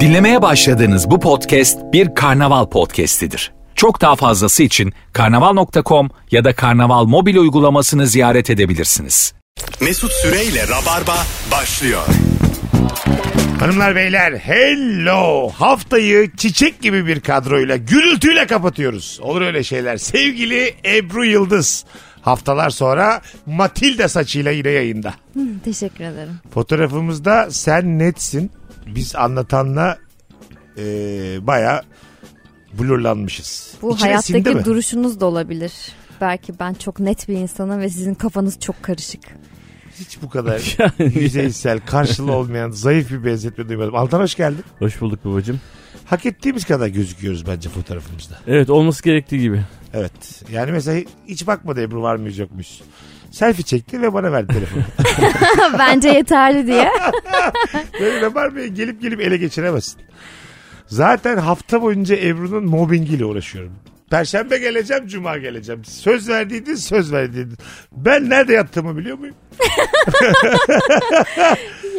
Dinlemeye başladığınız bu podcast bir karnaval podcastidir. Çok daha fazlası için karnaval.com ya da karnaval mobil uygulamasını ziyaret edebilirsiniz. Mesut Süreyle Rabarba başlıyor. Hanımlar beyler hello haftayı çiçek gibi bir kadroyla gürültüyle kapatıyoruz. Olur öyle şeyler. Sevgili Ebru Yıldız haftalar sonra Matilda saçıyla yine yayında. Teşekkür ederim. Fotoğrafımızda sen netsin biz anlatanla e, baya blurlanmışız. Bu İçine sindi mi? hayattaki duruşunuz da olabilir. Belki ben çok net bir insanım ve sizin kafanız çok karışık. Hiç bu kadar yüzeysel karşılığı olmayan zayıf bir benzetme duymadım. Altan hoş geldin. Hoş bulduk babacığım. Hak ettiğimiz kadar gözüküyoruz bence fotoğrafımızda. Evet olması gerektiği gibi. Evet. Yani mesela hiç bakmadı Ebru var mıyız yok muyuz. Selfie çekti ve bana verdi telefonu. Bence yeterli diye. Böyle Rabar Bey gelip gelip ele geçiremezsin. Zaten hafta boyunca Ebru'nun mobbingiyle uğraşıyorum. Perşembe geleceğim, cuma geleceğim. Söz verdiydin, söz verdiydin. Ben nerede yattığımı biliyor muyum?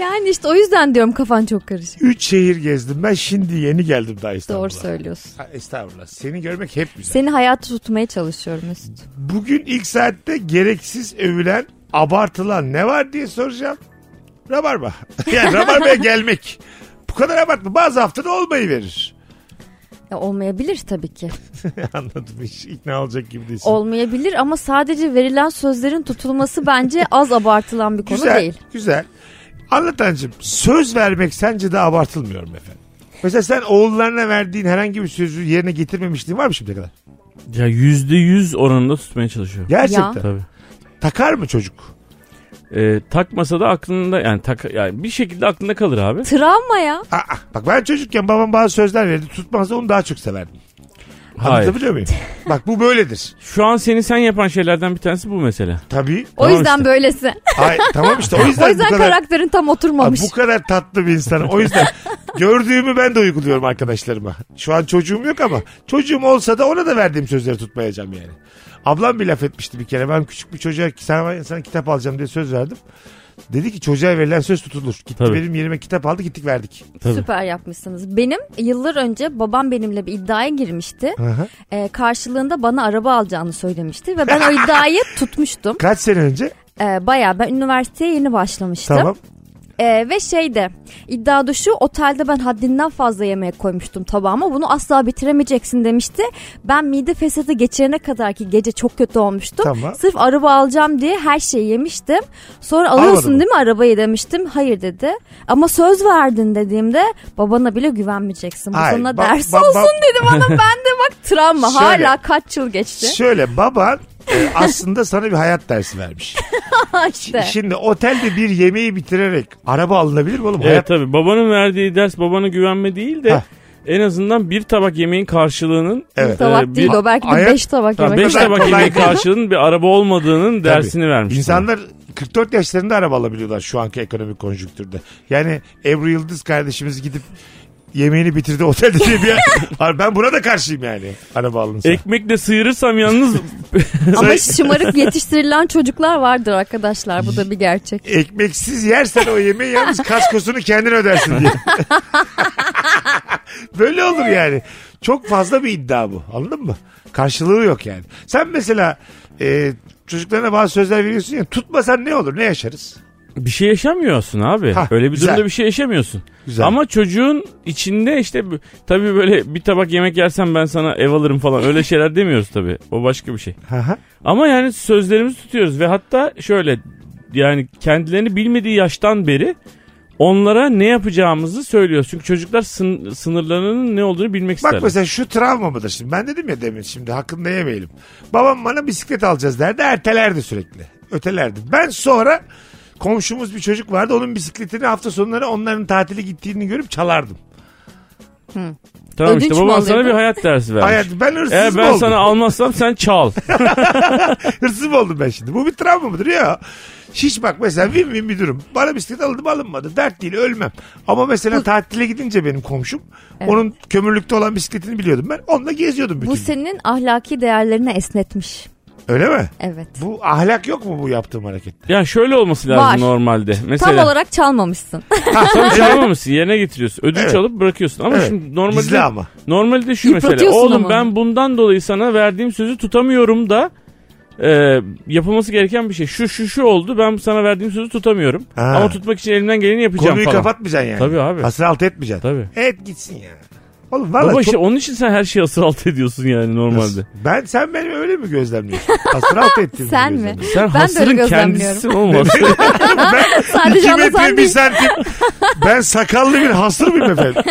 Yani işte o yüzden diyorum kafan çok karışık. Üç şehir gezdim ben şimdi yeni geldim daha İstanbul'a. Doğru söylüyorsun. Ha, Estağfurullah. Seni görmek hep güzel. Seni hayatta tutmaya çalışıyorum Mesut. Bugün ilk saatte gereksiz övülen, abartılan ne var diye soracağım. Rabarba. Yani Rabarba'ya gelmek. Bu kadar abartma. Bazı haftada olmayı verir. Ya olmayabilir tabii ki. Anladım. Hiç ikna olacak gibi değilsin. Olmayabilir ama sadece verilen sözlerin tutulması bence az abartılan bir konu güzel, değil. Güzel. Anlatancım söz vermek sence de abartılmıyor mu efendim? Mesela sen oğullarına verdiğin herhangi bir sözü yerine getirmemişliğin var mı şimdiye kadar? Ya yüzde yüz oranında tutmaya çalışıyorum. Gerçekten. Tabii. Takar mı çocuk? Ee, takmasa da aklında yani tak yani bir şekilde aklında kalır abi. Travma ya. Aa, bak ben çocukken babam bazı sözler verdi. Tutmazsa onu daha çok severdim. Hayır. Anlatabiliyor muyum? bak bu böyledir. Şu an seni sen yapan şeylerden bir tanesi bu mesele. Tabii. O Tamam yüzden işte. böylesi. Hayır, tamam işte o yüzden, O yüzden bu kadar... karakterin tam oturmamış. Bu kadar tatlı bir insanım. O yüzden gördüğümü ben de uyguluyorum arkadaşlarıma. Şu an çocuğum yok ama çocuğum olsa da ona da verdiğim sözleri tutmayacağım yani. Ablam bir laf etmişti bir kere. Ben küçük bir çocuğa sana, sana kitap alacağım diye söz verdim. Dedi ki çocuğa verilen söz tutulur. Gitti Tabii. benim yerime kitap aldı gittik verdik. Tabii. Süper yapmışsınız. Benim yıllar önce babam benimle bir iddiaya girmişti. Aha. Ee, karşılığında bana araba alacağını söylemişti ve ben o iddiayı tutmuştum. Kaç sene önce? Ee, Baya ben üniversiteye yeni başlamıştım. Tamam. Ee, ve şeyde iddia da şu otelde ben haddinden fazla yemek koymuştum tabağıma bunu asla bitiremeyeceksin demişti. Ben mide fesatı geçirene kadar ki gece çok kötü olmuştum. Tamam. Sırf araba alacağım diye her şeyi yemiştim. Sonra Almadı alıyorsun mı? değil mi arabayı demiştim. Hayır dedi. Ama söz verdin dediğimde babana bile güvenmeyeceksin. Bu Hayır, sana ba- ders ba- ba- olsun dedi bana. ben de bak travma Şöyle. hala kaç yıl geçti. Şöyle baban e, aslında sana bir hayat dersi vermiş. işte. Şimdi otelde bir yemeği bitirerek araba alınabilir mi oğlum? Evet Hayat- tabii babanın verdiği ders babana güvenme değil de Heh. en azından bir tabak yemeğin karşılığının Evet. Tabak e, bir- değil o belki Ayak- de beş tabak Ha, yemek. beş kadar tabak kolay yemeğin değil. karşılığının bir araba olmadığının dersini vermiş. İnsanlar 44 yaşlarında araba alabiliyorlar şu anki ekonomik konjüktürde. Yani Ebru Yıldız kardeşimiz gidip yemeğini bitirdi otelde diye bir Abi ben buna da karşıyım yani araba alınsa. Ekmekle sıyırırsam yalnız Ama şımarık yetiştirilen çocuklar vardır arkadaşlar. Bu da bir gerçek. Ekmeksiz yersen o yemeği yalnız kaskosunu kendin ödersin diye. Böyle olur yani. Çok fazla bir iddia bu. Anladın mı? Karşılığı yok yani. Sen mesela e, çocuklarına bazı sözler veriyorsun ya tutmasan ne olur ne yaşarız? Bir şey yaşamıyorsun abi. Hah, Öyle bir güzel. durumda bir şey yaşamıyorsun. Güzel. Ama çocuğun içinde işte bu- tabii böyle bir tabak yemek yersen ben sana ev alırım falan öyle şeyler demiyoruz tabii. O başka bir şey. Hı hı. Ama yani sözlerimizi tutuyoruz ve hatta şöyle yani kendilerini bilmediği yaştan beri onlara ne yapacağımızı söylüyoruz. Çünkü çocuklar sın- sınırlarının ne olduğunu bilmek Bak isterler. mesela şu travma mıdır şimdi? Ben dedim ya demin şimdi hakkında yemeyelim. Babam bana bisiklet alacağız derdi. Ertelerdi sürekli. Ötelerdi. Ben sonra komşumuz bir çocuk vardı. Onun bisikletini hafta sonları onların tatile gittiğini görüp çalardım. tamam ödünç işte mü baban alıyordun? sana bir hayat dersi vermiş. Hayat, ben hırsız Eğer mı ben oldum? sana almazsam sen çal. Hırsız mı oldum ben şimdi? Bu bir travma mıdır ya? Hiç bak mesela vin vin bir durum. Bana bisiklet alındı mı alınmadı. Dert değil ölmem. Ama mesela tatile gidince benim komşum. Onun kömürlükte olan bisikletini biliyordum ben. Onunla geziyordum bütün Bu gün. senin ahlaki değerlerini esnetmiş. Öyle mi? Evet. Bu ahlak yok mu bu yaptığım harekette? Yani şöyle olması lazım Var. normalde. Mesela Tam olarak çalmamışsın. tabii çalmamışsın yerine getiriyorsun. Ödünç Evet. alıp bırakıyorsun. Ama Evet. şimdi normalde Gizli ama. normalde şu mesela. Yıpratıyorsun Oğlum ama. ben bundan dolayı sana verdiğim sözü tutamıyorum da e, yapılması gereken bir şey. Şu şu şu oldu ben sana verdiğim sözü tutamıyorum. Ha. Ama tutmak için elimden geleni yapacağım Konuyu falan. kapatmayacaksın yani. Tabii abi. Hasır altı etmeyeceksin. Tabii. Et gitsin ya. Oğlum Baba valla çok... işte onun için sen her şeyi asır alt ediyorsun yani normalde. Ben sen beni öyle mi gözlemliyorsun? Hasır altı ettiğimi Sen mi? gözlemliyorsun. Ben Sen de öyle hasırın gözlemliyorum. kendisisin oğlum. Hasır- Sadece 2 ama metre sen 1 değil. santim. Ben sakallı bir hastır mıyım efendim?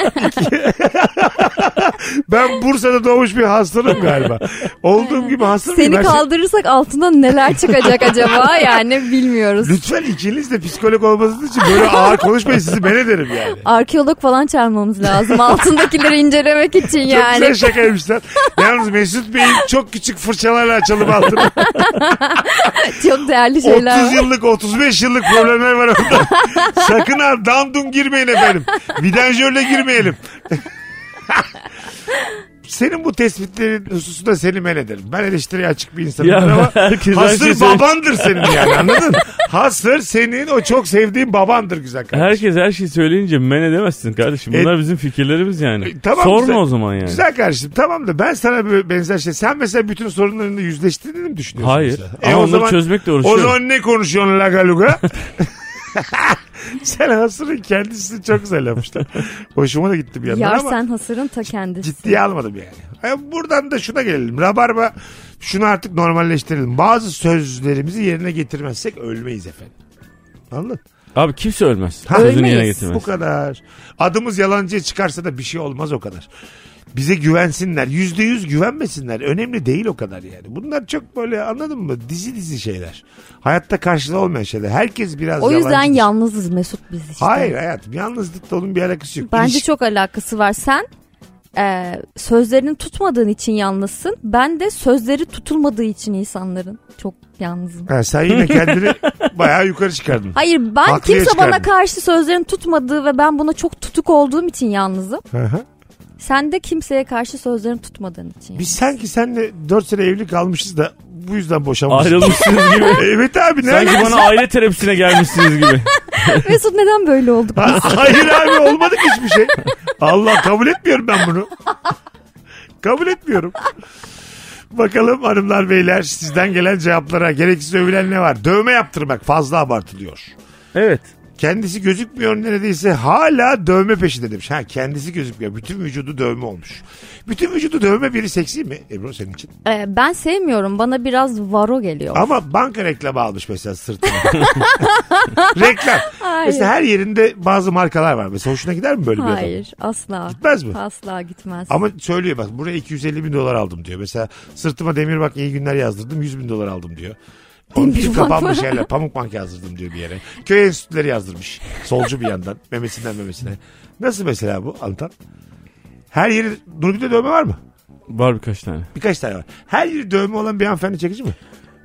ben Bursa'da doğmuş bir hastırım galiba. Olduğum gibi hastır mıyım? Seni Ben- kaldırırsak altından neler çıkacak acaba yani bilmiyoruz. Lütfen ikiniz de psikolog olmanız için böyle ağır konuşmayın sizi ben ederim yani. Arkeolog falan çağırmamız lazım altındakileri incelemek için Çok güzel yani. şakaymış lan. Yalnız Mesut Bey'in çok küçük fırçalarla açalım altını. Çok değerli şeyler 30 var. yıllık 35 yıllık problemler var orada. Sakın ha dandun girmeyin efendim. Vidanjörle girmeyelim. Senin bu tespitlerin hususunda seni men ederim. Ben eleştiriye açık bir insanım Ya ama herkes her şeyi hasır söyle- babandır senin yani anladın? mı? Hasır senin o çok sevdiğin babandır güzel kardeşim. Herkes her şeyi söyleyince men edemezsin kardeşim. Bunlar E- bizim fikirlerimiz yani. E, tamam, Sorma güzel- o zaman yani. Güzel kardeşim tamam da ben sana böyle benzer şey. Sen mesela bütün sorunlarını yüzleştiğini mi düşünüyorsun? Hayır. mesela? E, Ama onları çözmekle uğraşıyorum. O zaman ne konuşuyorsun laga luga? Sen hasırın kendisini çok güzel yapmışlar. Hoşuma da gitti bir yandan Yar ama sen hasırın ta kendisi. ciddiye almadım yani. Ay, Buradan da şuna gelelim. Rabarba şunu artık normalleştirelim. Bazı sözlerimizi yerine getirmezsek ölmeyiz efendim. Anladın? Abi kimse ölmez. Sözünü Ölmeyiz. yerine Bu getirmez. kadar. Adımız yalancıya çıkarsa da bir şey olmaz o kadar. Bize güvensinler. Yüzde yüz güvenmesinler. Önemli değil o kadar yani. Bunlar çok böyle anladın mı? Dizi dizi şeyler. Hayatta karşılığı olmayan şeyler. Herkes biraz O yüzden yalancıdır. yalnızız Mesut biz işte. Hayır hayatım. Yalnızlıkla onun bir alakası yok. Bence İlişki- çok alakası var. Sen e, sözlerini tutmadığın için yalnızsın. Ben de sözleri tutulmadığı için insanların çok yalnızım. Ha, sen yine kendini bayağı yukarı çıkardın. Hayır ben Haklıya kimse bana çıkardın. karşı sözlerini tutmadığı ve ben buna çok tutuk olduğum için yalnızım. Hı hı. Sen de kimseye karşı sözlerini tutmadığın için. Biz sanki senle 4 sene evli kalmışız da bu yüzden boşanmışız. Ayrılmışsınız gibi. evet abi ne Sanki alakası bana aile terapisine gelmişsiniz gibi. Mesut neden böyle olduk? Ha, Hayır abi olmadık hiçbir şey. Allah kabul etmiyorum ben bunu. kabul etmiyorum. Bakalım hanımlar beyler sizden gelen cevaplara gereksiz övülen ne var? Dövme yaptırmak fazla abartılıyor. Evet. Kendisi gözükmüyor neredeyse hala dövme peşinde demiş. Ha kendisi gözükmüyor. Bütün vücudu dövme olmuş. Bütün vücudu dövme biri seksi mi Ebru senin için? E, ben sevmiyorum. Bana biraz varo geliyor. Ama banka reklamı almış mesela sırtına. Reklam. Hayır. Mesela her yerinde bazı markalar var. Mesela hoşuna gider mi böyle bir adam? Hayır asla. Gitmez mi? Asla gitmez. Ama söylüyor bak buraya 250 bin dolar aldım diyor. Mesela sırtıma demir bak iyi günler yazdırdım 100 bin dolar aldım diyor. Onun Demir için Bank kapanmış mı? yerler pamuk bank yazdırdım diyor bir yere. Köy enstitüleri yazdırmış. Solcu bir yandan. Memesinden memesine. Nasıl mesela bu Antan? Her yeri Nurgül'de dövme var mı? Var birkaç tane. Birkaç tane var. Her yeri dövme olan bir hanımefendi çekici mi?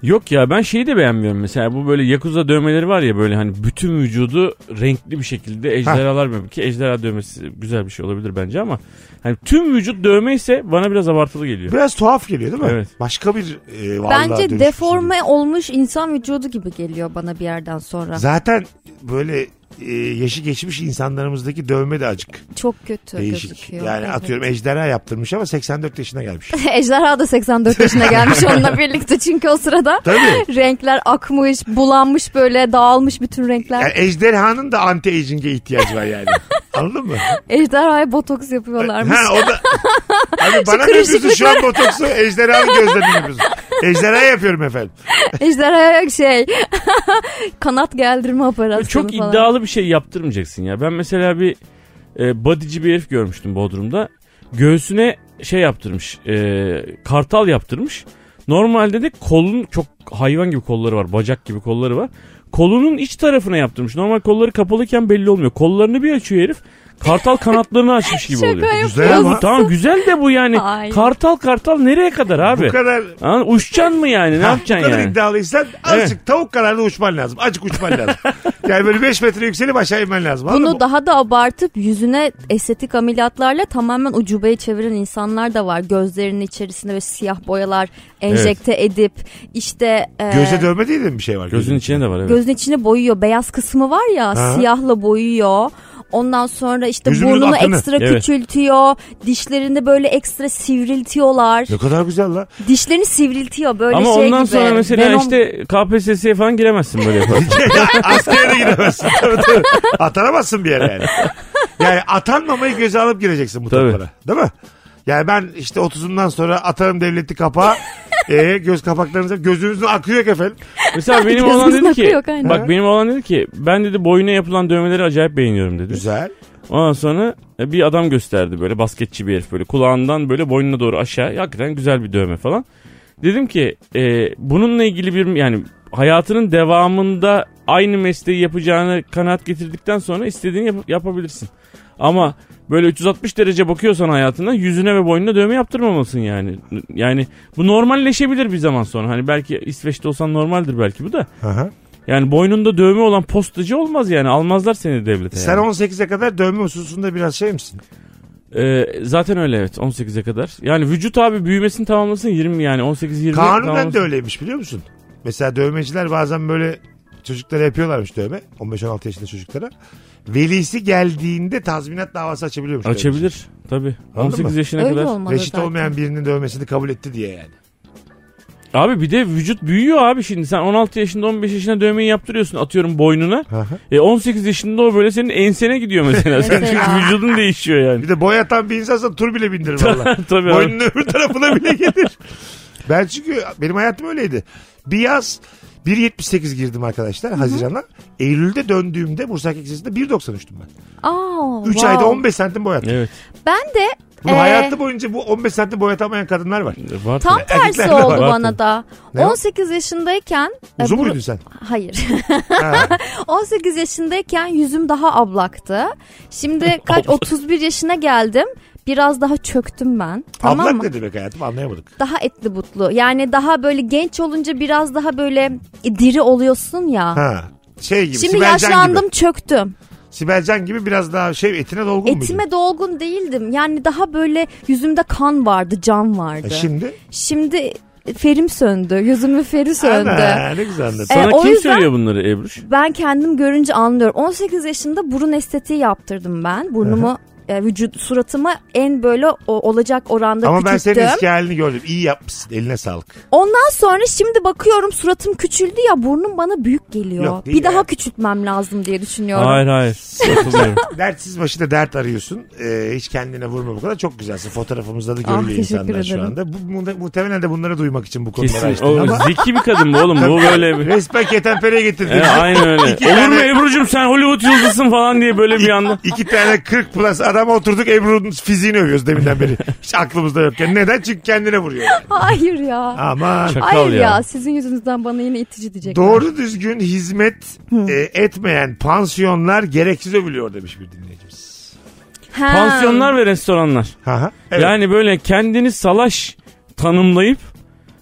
Yok ya ben şeyi de beğenmiyorum mesela bu böyle Yakuza dövmeleri var ya böyle hani bütün vücudu renkli bir şekilde ejderhalar böyle ki ejderha dövmesi güzel bir şey olabilir bence ama hani tüm vücut dövme ise bana biraz abartılı geliyor. Biraz tuhaf geliyor değil mi? Evet. Başka bir e, varlığa Bence dönüşmüş deforme olmuş insan vücudu gibi geliyor bana bir yerden sonra. Zaten böyle e, yaşı geçmiş insanlarımızdaki dövme de acık Çok kötü değişik. gözüküyor. Yani Evet. atıyorum ejderha yaptırmış ama 84 yaşına gelmiş. Ejderha da 84 yaşına gelmiş onunla birlikte çünkü o sırada Tabii. renkler akmış, bulanmış böyle dağılmış bütün renkler. Yani ejderhanın da anti-aging'e ihtiyacı var yani. Anladın mı? Ejderhaya botoks yapıyorlarmış. ha o da... Abi bana ne diyorsun şu an botoksu ejderhanın gözlerini yapıyorsun. Ejderha yapıyorum efendim. Ejderhaya şey kanat geldirme operasyonu Çok falan. iddialı bir şey yaptırmayacaksın ya. Ben mesela bir e, bodyci bir herif görmüştüm Bodrum'da. Göğsüne şey yaptırmış. e, kartal yaptırmış. Normalde de kolun çok hayvan gibi kolları var. Bacak gibi kolları var. Kolunun iç tarafına yaptırmış. Normal kolları kapalıken belli olmuyor. Kollarını bir açıyor herif. Kartal kanatlarını açmış gibi Şaka oluyor. Güzel yapıyorsun. ama. Tamam güzel de bu yani. Ay. Kartal kartal nereye kadar abi? Bu kadar Anladın? Uçacaksın mı yani? Ne Ha, yapacaksın Bu kadar yani? iddialıysan azıcık tavuk kadar da uçman lazım. Azıcık uçman lazım. yani böyle 5 metre yükselip aşağı inmen lazım. Anladın Bunu mı? daha da abartıp yüzüne estetik ameliyatlarla tamamen ucubaya çeviren insanlar da var. Gözlerinin içerisinde böyle siyah boyalar enjekte edip işte e, Göze dövme değil de mi bir şey var? Gözün içine de var evet. gözün içini boyuyor. Beyaz kısmı var ya Ha. siyahla boyuyor. Ondan sonra işte Yüzümüzün burnunu aklını. ekstra Evet. küçültüyor. Dişlerini böyle ekstra sivriltiyorlar. Ne kadar güzel la. Dişlerini sivriltiyor böyle Ama şey ondan gibi. sonra mesela Venom- işte KPSS'ye falan giremezsin böyle yaparsan. Askere de giremezsin. Tabii, tabii. Atanamazsın bir yere yani. Yani atanmamayı göze alıp gireceksin bu Tabii. toplara. Değil mi? Yani ben işte 30'umdan sonra atarım devleti kapağı. E, göz kapaklarınıza gözünüzün akıyor yok efendim. mesela benim Gözümüzün oğlan dedi akı ki yok, aynen. bak benim oğlan dedi ki ben dedi boyuna yapılan dövmeleri acayip beğeniyorum dedi. Güzel. Ondan sonra e, bir adam gösterdi böyle basketçi bir herif böyle kulağından böyle boynuna doğru aşağı hakikaten güzel bir dövme falan. Dedim ki e, bununla ilgili bir yani hayatının devamında aynı mesleği yapacağını kanaat getirdikten sonra istediğini yap- yapabilirsin. Ama böyle 360 derece bakıyorsan hayatına yüzüne ve boynuna dövme yaptırmamalısın yani. Yani bu normalleşebilir bir zaman sonra. Hani belki İsveç'te olsan normaldir belki bu da. Aha. Yani boynunda dövme olan postacı olmaz yani. Almazlar seni devlete. Sen yani. 18'e kadar dövme hususunda biraz şey misin? Ee, zaten öyle evet 18'e kadar. Yani vücut abi büyümesini tamamlasın 20 yani 18 20 Kanunen tamamlasın. de öyleymiş biliyor musun? Mesela dövmeciler bazen böyle çocuklara yapıyorlarmış dövme. 15-16 yaşında çocuklara. Velisi geldiğinde tazminat davası açabiliyormuş. dövmeci. Açabilir tabii. Anladın 18 mı? yaşına Öyle kadar. olmalı Reşit zaten. olmayan birinin dövmesini kabul etti diye yani. Abi bir de vücut büyüyor abi şimdi. Sen 16 yaşında 15 yaşında dövmeyi yaptırıyorsun atıyorum boynuna. E 18 yaşında o böyle senin ensene gidiyor mesela. Sen Mesela. çünkü vücudun değişiyor yani. Bir de boyatan bir insansa tur bile bindirir valla. Tabii abi. Boynunun öbür tarafına bile gelir. Ben çünkü benim hayatım öyleydi. Bir yaz 1.78 girdim arkadaşlar Haziran'a. Eylül'de döndüğümde Bursa Erkek Lisesi'nde 1.93'tüm ben. Aa, 3 wow. ayda 15 santim boyattım. Evet. Ben de Bunu Ee, hayatı boyunca bu 15 santim boyatamayan kadınlar var. Var Tam tabii. tersi Erkeklerle oldu var. bana da. Ne var? 18 yaşındayken e, Uzun bu- muydun sen? Hayır. Ha. 18 yaşındayken yüzüm daha ablaktı. Şimdi kaç 31 yaşına geldim. Biraz daha çöktüm ben. Tamam Ablak mı? ne demek hayatım anlayamadık. Daha etli butlu. Yani daha böyle genç olunca biraz daha böyle e, diri oluyorsun ya. Ha. Şey gibi Şimdi Sibelcan yaşlandım gibi. çöktüm. Sibelcan gibi biraz daha şey etine dolgun muydun? Etime dolgun değildim. Yani daha böyle yüzümde kan vardı, can vardı. E şimdi? Şimdi e, ferim söndü. Yüzümün feri söndü. Ana, ne güzel anladın. Sana E, o kim yüzden- söylüyor bunları Ebruş? Ben kendim görünce anlıyorum. 18 yaşında burun estetiği yaptırdım ben. Burnumu e, vücut suratıma en böyle o- olacak oranda Ama ben küçülttüm. senin eski halini gördüm. İyi yapmışsın. Eline sağlık. Ondan sonra şimdi bakıyorum suratım küçüldü ya burnum bana büyük geliyor. Yok, değil bir daha ya. küçültmem lazım diye düşünüyorum. Hayır hayır. Katılıyorum. Dertsiz başında dert arıyorsun. Ee, hiç kendine vurma bu kadar. Çok güzelsin. Fotoğrafımızda da Ah, görülüyor teşekkür insanlar şu ederim. anda. Bu, mu- muhtemelen de bunları duymak için bu konuları Kesin. açtın O ama. zeki bir kadın bu oğlum. Bu böyle bir... Resmen ketenpereye getirdin. E, aynen öyle. Olur mu Ebru'cum sen Hollywood yıldızısın falan diye böyle bir anda. İki tane 40 plus adam oturduk Ebru'nun fiziğini övüyoruz deminden beri. Hiç aklımızda yokken. Neden? Çünkü kendine vuruyor. Hayır ya. Aman. Şakal Hayır ya. ya. sizin yüzünüzden bana yine itici diyecekler. Doğru düzgün hizmet e, etmeyen pansiyonlar gereksiz övülüyor demiş bir dinleyicimiz. Ha. Pansiyonlar ve restoranlar. Ha ha. Evet. Yani böyle kendini salaş tanımlayıp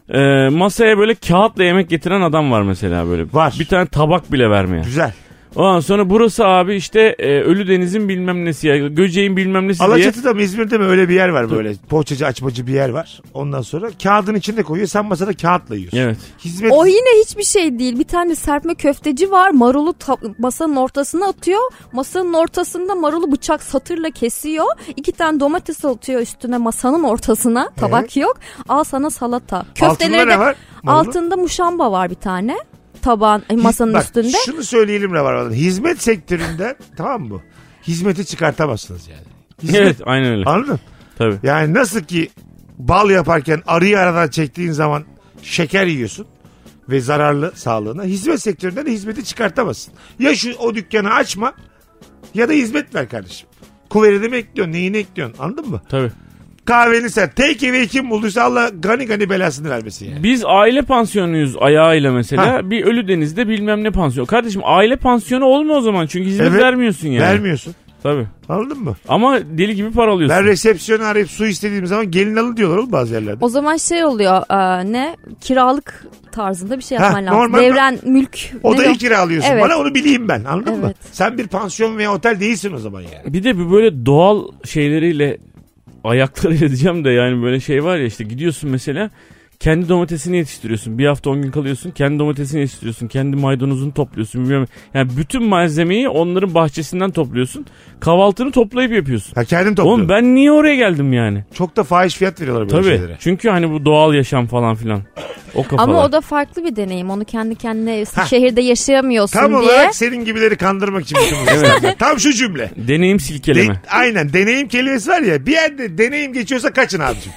e, masaya böyle kağıtla yemek getiren adam var mesela böyle. Var. Bir tane tabak bile vermeye. Güzel. Ondan sonra burası abi işte e, Ölüdeniz'in bilmem nesi ya Göceğin bilmem nesi diye. Alaçatı'da mı İzmir'de mi öyle bir yer var böyle. Poğaçacı açmacı bir yer var. Ondan sonra kağıdın içinde koyuyor. Sen masada kağıtla yiyorsun. Evet. Hizmet O yine hiçbir şey değil. Bir tane serpme köfteci var. Marulu ta- masanın ortasına atıyor. Masanın ortasında marulu bıçak satırla kesiyor. İki tane domates atıyor üstüne masanın ortasına. Tabak yok. Al sana salata. Ee? altında Köfteleri ne de var? Marulu? altında muşamba var bir tane. Tabağın e, Hiz- masanın Bak, üstünde. Şunu söyleyelim ne var Hizmet sektöründe tamam mı? Hizmeti çıkartamazsınız yani. Hizmet, Evet aynen öyle. Anladın mı? Tabii. Yani nasıl ki bal yaparken arıyı aradan çektiğin zaman şeker yiyorsun ve zararlı sağlığına. Hizmet sektöründe de hizmeti çıkartamazsın. Ya şu o dükkanı açma ya da hizmet ver kardeşim. Kuveride mi ekliyorsun? Neyini ekliyorsun? Anladın mı? Tabii. Kahveni sen. Take away'i kim bulduysa Allah gani gani belasını vermesin yani. Biz aile pansiyonuyuz ayağıyla mesela. Bir Ölüdeniz'de bilmem ne pansiyon. Kardeşim aile pansiyonu olma o zaman çünkü hizmet Evet. vermiyorsun yani. Vermiyorsun. Tabii. Anladın mı? Ama deli gibi para alıyorsun. Ben resepsiyonu arayıp su istediğim zaman gelin alın diyorlar oğlum bazı yerlerde. O zaman şey oluyor e, ne kiralık tarzında bir şey Ha, yapman lazım. normal- Devren mülk. ne Odayı yok? kiralıyorsun Evet. bana onu bileyim ben anladın mı? Evet. Sen bir pansiyon veya otel değilsin o zaman yani. Bir de bir böyle doğal şeyleriyle ayaklarıyla diyeceğim de yani böyle şey var ya işte gidiyorsun mesela kendi domatesini yetiştiriyorsun. Bir hafta 10 gün kalıyorsun. Kendi domatesini yetiştiriyorsun. Kendi maydanozunu topluyorsun. Bilmiyorum. Yani bütün malzemeyi onların bahçesinden topluyorsun. Kahvaltını toplayıp yapıyorsun. Ha kendim topluyorum. Oğlum ben niye oraya geldim yani? Çok da fahiş fiyat veriyorlar böyle Tabii. şeylere. Çünkü hani bu doğal yaşam falan filan. O kafalar. Ama o da farklı bir deneyim. Onu kendi kendine şehirde yaşayamıyorsun Tam diye. olarak senin gibileri kandırmak için bütün bu işler. Tam şu cümle. Deneyim silkeleme. De- aynen deneyim kelimesi var ya bir yerde deneyim geçiyorsa kaçın abicim.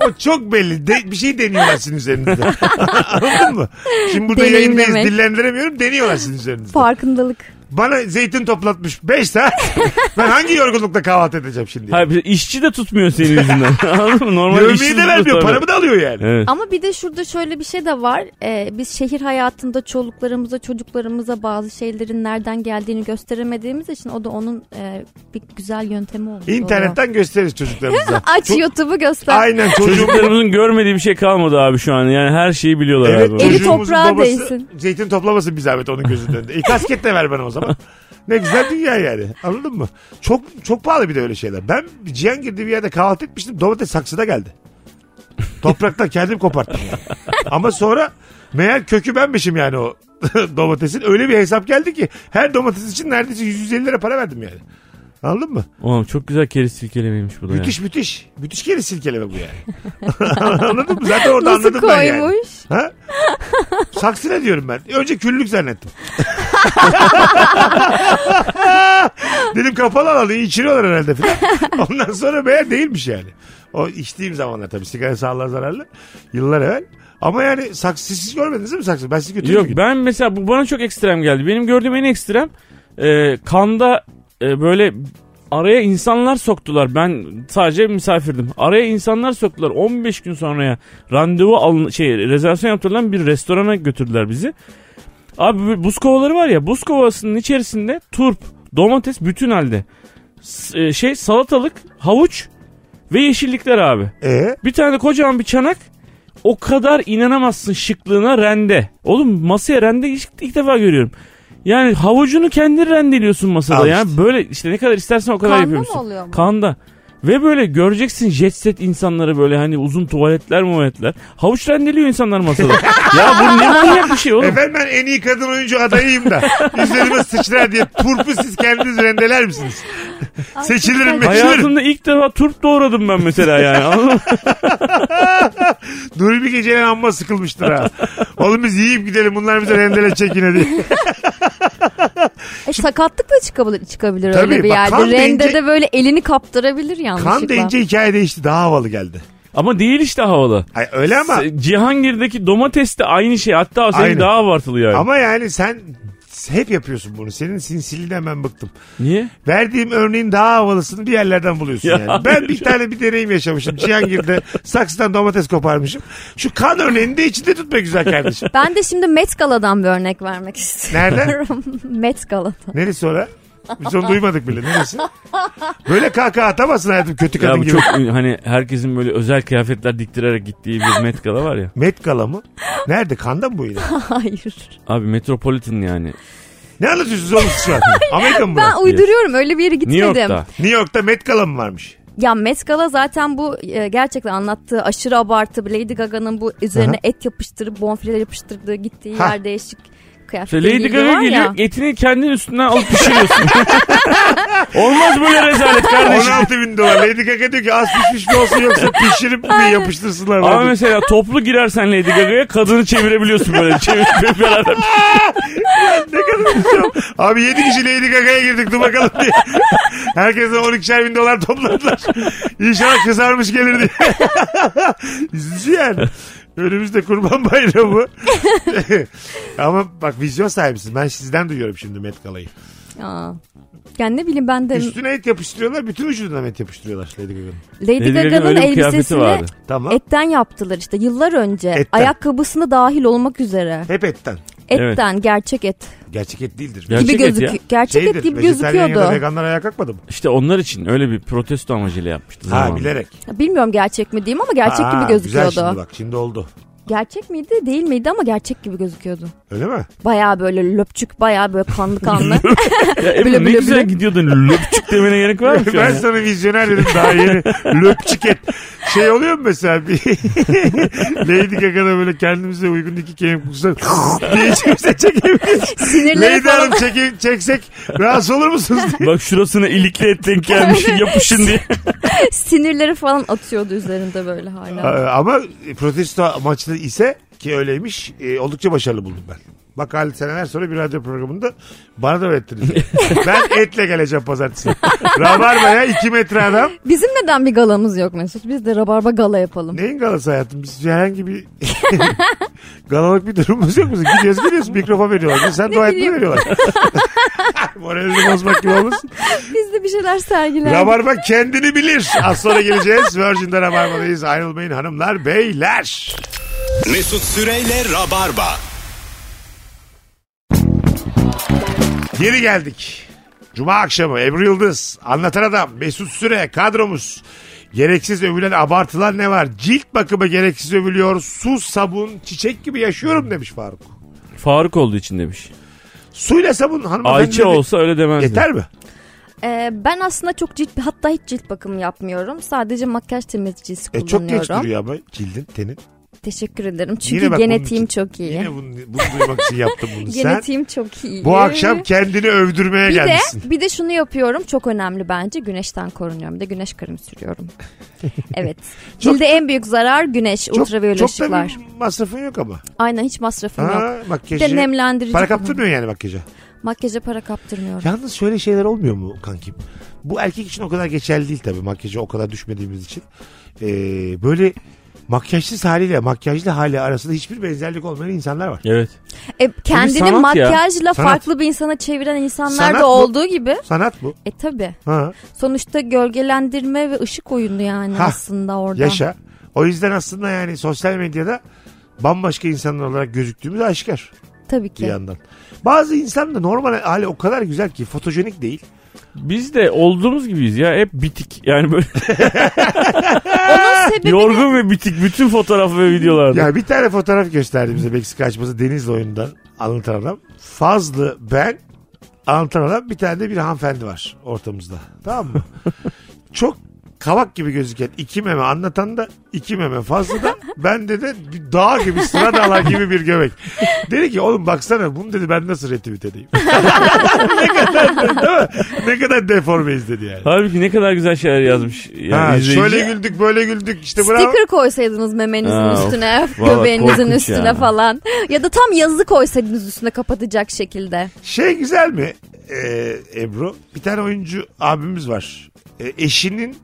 O çok belli. De- bir şey deniyorlar sizin üzerinizde. Anladın mı? Şimdi burada Deneyimlemek. yayındayız dillendiremiyorum. Deniyorlar sizin üzerinizde. Farkındalık. Bana zeytin toplatmış 5 saat. ben hangi yorgunlukla kahvaltı edeceğim şimdi? Hayır, bir- işçi de tutmuyor senin yüzünden. Anladın mı? Normal işçi Yövmeyi de vermiyor. tutar. Paramı da alıyor yani. Evet. Ama bir de şurada şöyle bir şey de var. Ee, biz şehir hayatında çoluklarımıza, çocuklarımıza bazı şeylerin nereden geldiğini gösteremediğimiz için o da onun e, bir güzel yöntemi olmuş. oluyor. İnternetten gösteririz çocuklarımıza. Aç Çok- YouTube'u göster. Aynen çocuğum. Çocuklarımızın görmediği bir şey kalmadı abi şu an. Yani her şeyi biliyorlar Evet, abi. Eli çocuğumuzun toprağa babası değsin. Zeytin toplamasın bir zahmet onun gözünden. de. E, kasket de ver bana o zaman. Ne güzel dünya yani. Anladın mı? Çok çok pahalı bir de öyle şeyler. Ben Cihangir'de bir yerde kahvaltı etmiştim. Domates saksıda geldi. Topraktan kendim koparttım. yani. Ama sonra meğer kökü benmişim yani o domatesin. Öyle bir hesap geldi ki her domates için neredeyse 150 lira para verdim yani. Anladın mı? Oğlum çok güzel keriz silkelemeymiş bu da Müthiş müthiş. Müthiş geri silkeleme bu yani. Anladın mı? Zaten orada Nasıl anladım ben yani. koymuş? Ha? Saksı ne diyorum ben? Önce küllük zannettim. Dedim kapalı alanı içiriyorlar herhalde falan. Ondan sonra meğer değilmiş yani. O içtiğim zamanlar tabii sigara sağlığa zararlı. Yıllar evvel. Ama yani saksı siz hiç görmediniz değil mi saksı? Ben sizi yani. götürdüm. Yok bir gün. ben mesela bu bana çok ekstrem geldi. Benim gördüğüm en ekstrem e, kanda e, böyle araya insanlar soktular. Ben sadece misafirdim. Araya insanlar soktular. 15 gün sonraya randevu alın şey rezervasyon yaptırılan bir restorana götürdüler bizi. Abi bu- buz kovaları var ya buz kovasının içerisinde turp, domates bütün halde. S- e, şey salatalık, havuç ve yeşillikler abi. Ee? Bir tane de kocaman bir çanak. O kadar inanamazsın şıklığına rende. Oğlum masaya rende ilk, ilk defa görüyorum. Yani havucunu kendin rendeliyorsun masada. Al Yani işte. böyle işte ne kadar istersen o kadar Kanda yapıyorsun. mı oluyor bu? Kanda. Ve böyle göreceksin jet set insanları böyle hani uzun tuvaletler muvaletler. Havuç rendeliyor insanlar masada. ya bu ne manyak bir şey oğlum. Efendim ben en iyi kadın oyuncu adayıyım da üzerime sıçrar diye turpu siz kendiniz rendeler misiniz? seçilirim meçilirim. Hayatımda ilk defa turp doğradım ben mesela yani. anladın mı? Nuri bir gecenin amma sıkılmıştır ha. Oğlum biz yiyip gidelim bunlar bize rendele çekine diye. E, sakatlık da çıkabilir, çıkabilir Tabii, öyle bir bak, yerde. kan Rende deyince- de böyle elini kaptırabilir yanlışlıkla. Kan deyince hikaye değişti daha havalı geldi. Ama değil işte havalı. Ay, öyle ama Se- Cihangir'deki domates de aynı şey. Hatta senin Aynı. daha abartılı yani. ama yani sen hep yapıyorsun bunu. Senin sinsiliğinden ben bıktım. Niye? Verdiğim örneğin daha havalısını bir yerlerden buluyorsun Ya yani. Ben bir tane bir deneyim yaşamışım. Cihangir'de saksıdan domates koparmışım. Şu kan örneğini de içinde tutma güzel kardeşim. Ben de şimdi Met Gala'dan bir örnek vermek istiyorum. Met Gala'dan. Neresi o lan? Biz onu duymadık bile. Neresi? Böyle kahkaha atamazsın hayatım kötü kadın Ya bu gibi. çok hani herkesin böyle özel kıyafetler diktirerek gittiği bir Met Gala var ya. Met Gala mı? Nerede? Kanda mı bu yine? Hayır. Abi Metropolitan yani. Ne anlatıyorsunuz oğlum siz şu an? Amerika mı bu? Ben uyduruyorum öyle bir yere gitmedim. New York'ta. New York'ta Met Gala mı varmış? Ya Met Gala zaten bu e, gerçekten anlattığı aşırı abartı Lady Gaga'nın bu üzerine Aha. et yapıştırıp bonfileler yapıştırdığı gittiği Ha. yer değişik kıyafetleri İşte Lady giydiği Gaga var geliyor ya. etini kendin üstünden alıp pişiriyorsun. Olmaz böyle rezalet kardeşim. 16 bin dolar. Lady Gaga diyor ki az pişmiş mi olsun yoksa pişirip mi yapıştırsınlar. Ama Abi, mesela toplu girersen Lady Gaga'ya kadını çevirebiliyorsun böyle. Çevirip beraber. ne kadar güzel. Abi 7 kişi Lady Gaga'ya girdik dur bakalım diye. Herkese 12'şer bin dolar topladılar. İnşallah kızarmış gelir diye. Üzücü yani. Önümüzde kurban bayramı. Ama bak vizyon sahibisiniz. Ben sizden duyuyorum şimdi Met Gala'yı. Aa. Yani ne bileyim ben de Üstüne et yapıştırıyorlar. Bütün vücuduna met yapıştırıyorlar Lady Gaga'nın. Lady, Lady Gaga'nın Gaga'nın öyle bir kıyafeti elbisesini vardı. Tamam. etten yaptılar işte yıllar önce. Etten. Ayakkabısını dahil olmak üzere. Hep etten. Etten gerçek et Gerçek et değildir. Ya- Gerçek gibi et ya. gözüküyor. Gerçek et gibi vejetaryen ya da gözüküyordu. veganlar ayağa kalkmadı mı? İşte onlar için öyle bir protesto amacıyla yapmıştı. Ha zamanında. bilerek. Bilmiyorum gerçek mi diyeyim ama gerçek Aa, gibi Güzel şimdi gözüküyordu. bak şimdi oldu. Gerçek miydi değil miydi ama gerçek gibi gözüküyordu. Öyle mi? Baya böyle löpçük baya böyle kanlı kanlı. Ya Ebru Bile ne bile güzel bile. gidiyordun. Löpçük demene gerek var mı şu an ben ya? sana vizyoner dedim daha yeni. Löpçük et. Şey oluyor mu mesela bir Lady Gaga'da böyle kendimize uygun iki kemik bulsak diye içimize çekebiliriz. Sinirleri Lady falan. Hanım çeke- çeksek rahatsız olur musunuz diye. Bak şurasına ilikli et denk gelmiş yapışın diye. Sinirleri falan atıyordu üzerinde böyle hala. Aa, Ee, Ama protesto amaçlı ise ki öyleymiş e, oldukça başarılı buldum ben. Bak Ali seneler sonra bir radyo programında bana da öğrettiniz. ben etle geleceğim pazartesi. Rabarba'ya iki metre adam. Bizim neden bir galamız yok Mesut? Biz de rabarba gala yapalım. Neyin galası hayatım? Biz herhangi bir galalık bir durumumuz yok bizim. Gidiyoruz gidiyoruz mikrofon veriyorlar. Biz Sen dua etme bileyim. veriyorlar. Moralini bozmak gibi olmasın. Biz de bir şeyler sergilerdik. Rabarba kendini bilir. Az sonra geleceğiz. Virgin'de Rabarba'dayız. Ayrılmayın hanımlar beyler. Mesut Süreyle Rabarba. Geri geldik. Cuma akşamı Ebru Yıldız, Anlatan Adam, Mesut Süre, kadromuz. Gereksiz övülen abartılar ne var? Cilt bakımı gereksiz övülüyor. Su, sabun, çiçek gibi yaşıyorum demiş Faruk. Faruk olduğu için demiş. Suyla sabun hanımefendi. Ayça olsa öyle demezdi. Yeter mi? Ee, ben aslında çok cilt hatta hiç cilt bakımı yapmıyorum. Sadece makyaj temizleyicisi E çok kullanıyorum. geç duruyor ama cildin tenin. Teşekkür ederim. Yine Çünkü bak bunun genetiğim için- çok iyi. Yine bunu, bunu duymak için yaptım bunu sen. genetiğim çok iyi. Bu akşam kendini övdürmeye bir de, gelmişsin. bir de şunu yapıyorum çok önemli bence güneşten korunuyorum bir de güneş kremi sürüyorum. evet. Cilde en büyük zarar güneş, ultraviyole çok da ışıklar. bir masrafın yok ama. Aynen hiç masrafım yok. Ha, Bir makyajı. de nemlendirici. Para falan. kaptırmıyor yani makyaja. Makyaja para kaptırmıyorum. Yalnız şöyle şeyler olmuyor mu kankim? Bu erkek için o kadar geçerli değil tabii makyaja o kadar düşmediğimiz için. Ee, böyle makyajsız haliyle makyajlı hali arasında hiçbir benzerlik olmayan insanlar var. Evet. E, kendini sanat ya. makyajla Sanat. farklı bir insana çeviren insanlar Sanat bu. da olduğu gibi. Sanat bu. E tabi. Ha, Sonuçta gölgelendirme ve ışık oyunu yani Ha, aslında orada. yaşa. O yüzden aslında yani sosyal medyada bambaşka insanlar olarak gözüktüğümüz aşikar. Tabii bir ki. yandan. Bazı insan da normal hali o kadar güzel ki fotojenik değil. Biz de olduğumuz gibiyiz ya. Hep bitik. Yani böyle Onun sebebi yorgun ve bitik bütün fotoğraf ve videolarda. Ya bir tane fotoğraf gösterdi bize Meksika açması Denizli oyundan anlatan adam. Fazlı ben anlatan adam bir tane de bir hanımefendi var ortamızda. Tamam mı? Çok kavak gibi gözüken iki meme anlatan da iki meme fazla da bende de bir dağ gibi sıra dağlar gibi bir göbek. Dedi ki oğlum baksana bunu dedi ben nasıl retweet edeyim. ne kadar değil mi? Ne kadar deformeyiz dedi yani. Halbuki ne kadar güzel şeyler yazmış. Yani Ha, izleyici. şöyle güldük böyle güldük işte bravo. Sticker koysaydınız memenizin Aa, üstüne, valla göbeğinizin korkunç üstüne ya. falan. Ya da tam yazı koysaydınız üstüne kapatacak şekilde. Şey güzel mi ee, Ebru? Bir tane oyuncu abimiz var. Ee, eşinin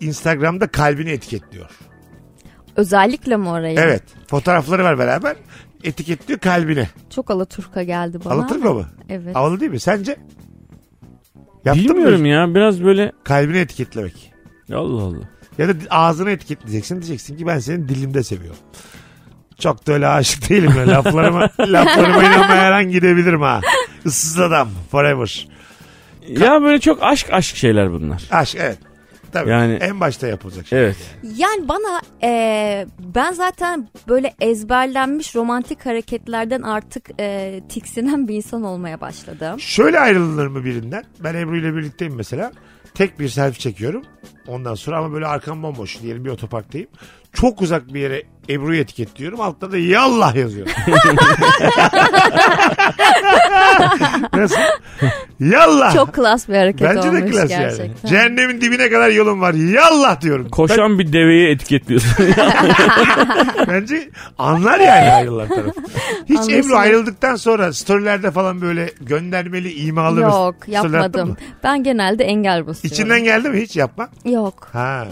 Instagram'da kalbini etiketliyor. Özellikle mi orayı? Evet. Fotoğrafları var beraber. Etiketliyor kalbine. Çok Alaturka geldi bana. Anlatır mı? Evet. Havalı değil mi? Sence? Yaptın mı şey? Bilmiyorum ya biraz böyle Kalbini etiketlemek. Allah Allah. Ya da di- ağzını etiketleyeceksin. Diyeceksin ki ben seni dilimde seviyorum. Çok da öyle aşık değilim. Ya. Laflarıma, laflarıma inanmayan an gidebilirim ha. Issız adam. Forever. Ya böyle çok aşk aşk şeyler bunlar. Aşk evet. Tabii. Yani- En başta yapılacak şey. Evet. Yani bana e, ben zaten böyle ezberlenmiş romantik hareketlerden artık e, tiksinen bir insan olmaya başladım. Şöyle ayrılır mı birinden? Ben Ebru ile birlikteyim mesela. Tek bir selfie çekiyorum. Ondan sonra ama böyle arkam bomboş. Diyelim bir otoparktayım. Çok uzak bir yere Ebru'yu etiketliyorum. Altta da yallah yazıyorum. Nasıl? Yallah. Çok klas bir hareket Bence olmuş de klas yani. gerçekten. Cehennemin dibine kadar yolum var. Yallah diyorum. Koşan bir deveyi etiketliyorsun. Bence anlar yani ayrılan taraf. Hiç Anlasın. Ebru ayrıldıktan sonra storylerde falan böyle göndermeli, imalı Yok storyler attın yapmadım. mı? Ben genelde engel basıyorum. İçinden geldi mi hiç yapma? Yok Ha.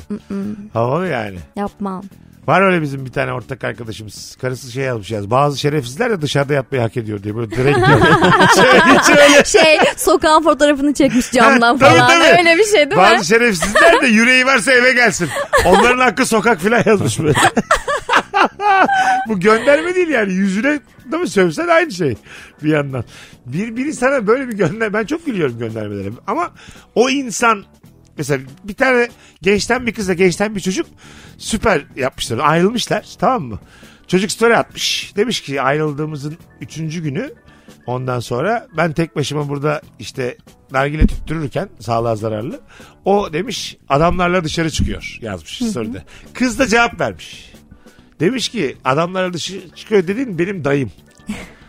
Havalı yani. yapmam. Var öyle bizim bir tane ortak arkadaşımız. Karısı şey yazmış yaz. Bazı şerefsizler de dışarıda yatmayı hak ediyor diye böyle direkt Şey sokağın fotoğrafını çekmiş camdan Tabii, falan tabii. öyle bir şey değil mi? Bazı şerefsizler de yüreği varsa eve gelsin. Onların hakkı sokak filan yazmış böyle. Bu gönderme değil yani. Yüzüne değil mi sövsen aynı şey bir yandan. Bir, biri sana böyle bir gönder... Ben çok gülüyorum göndermelere. Ama o insan mesela bir tane gençten bir kızla gençten bir çocuk süper yapmışlar. Ayrılmışlar tamam mı? Çocuk story atmış. Demiş ki ayrıldığımızın üçüncü günü ondan sonra ben tek başıma burada işte nargile tüttürürken sağlığa zararlı. O demiş adamlarla dışarı çıkıyor yazmış story'de. Kız da cevap vermiş. Demiş ki adamlarla dışarı çıkıyor dediğin benim dayım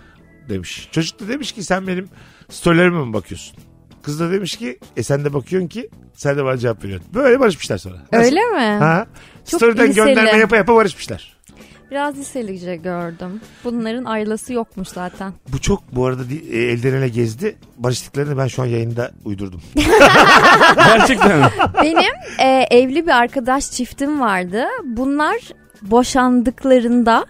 demiş. Çocuk da demiş ki sen benim storylerime mi bakıyorsun? Kız da demiş ki e sen de bakıyorsun ki sen de bana cevap veriyorsun. Böyle barışmışlar sonra. Öyle mi? Ha? Çok Story'den liseli. gönderme yapa yapa barışmışlar. Biraz liselice gördüm. Bunların ailesi yokmuş zaten. Bu çok bu arada di- e, elden ele gezdi. Barıştıklarını ben şu an yayında uydurdum. Gerçekten. mi? Benim e, evli bir arkadaş çiftim vardı. Bunlar boşandıklarında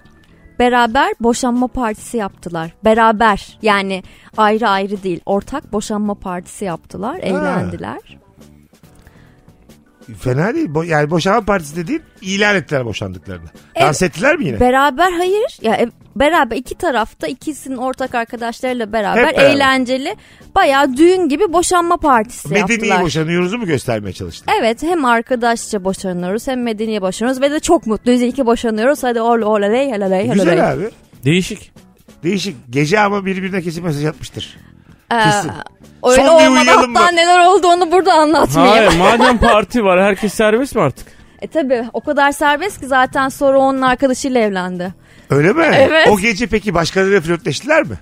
beraber boşanma partisi yaptılar. Beraber yani ayrı ayrı değil. Ortak boşanma partisi yaptılar. Eğlendiler. Fena değil. Bo- yani boşanma partisi de değil ilan ettiler boşandıklarını. Dans ettiler mi yine? Beraber hayır. Ya e, beraber iki tarafta ikisinin ortak arkadaşlarıyla beraber, Hep beraber. eğlenceli bayağı düğün gibi boşanma partisi Medeni yaptılar. boşanıyoruz'u mu göstermeye çalıştılar? Evet hem arkadaşça boşanıyoruz hem medeni boşanıyoruz ve de çok mutluyuz. İyi ki boşanıyoruz. Hadi ol ol aley aley aley. Güzel abi. Değişik. Değişik. Gece ama birbirine kesin mesaj atmıştır. Ee, Kesin. Öyle Son bir olmadı. uyuyalım mı? Hatta neler oldu onu burada anlatmayayım. Hayır madem parti var herkes serbest mi artık? E tabi o kadar serbest ki zaten sonra onun arkadaşıyla evlendi. Öyle mi? Evet. O gece peki başkalarıyla flörtleştiler mi?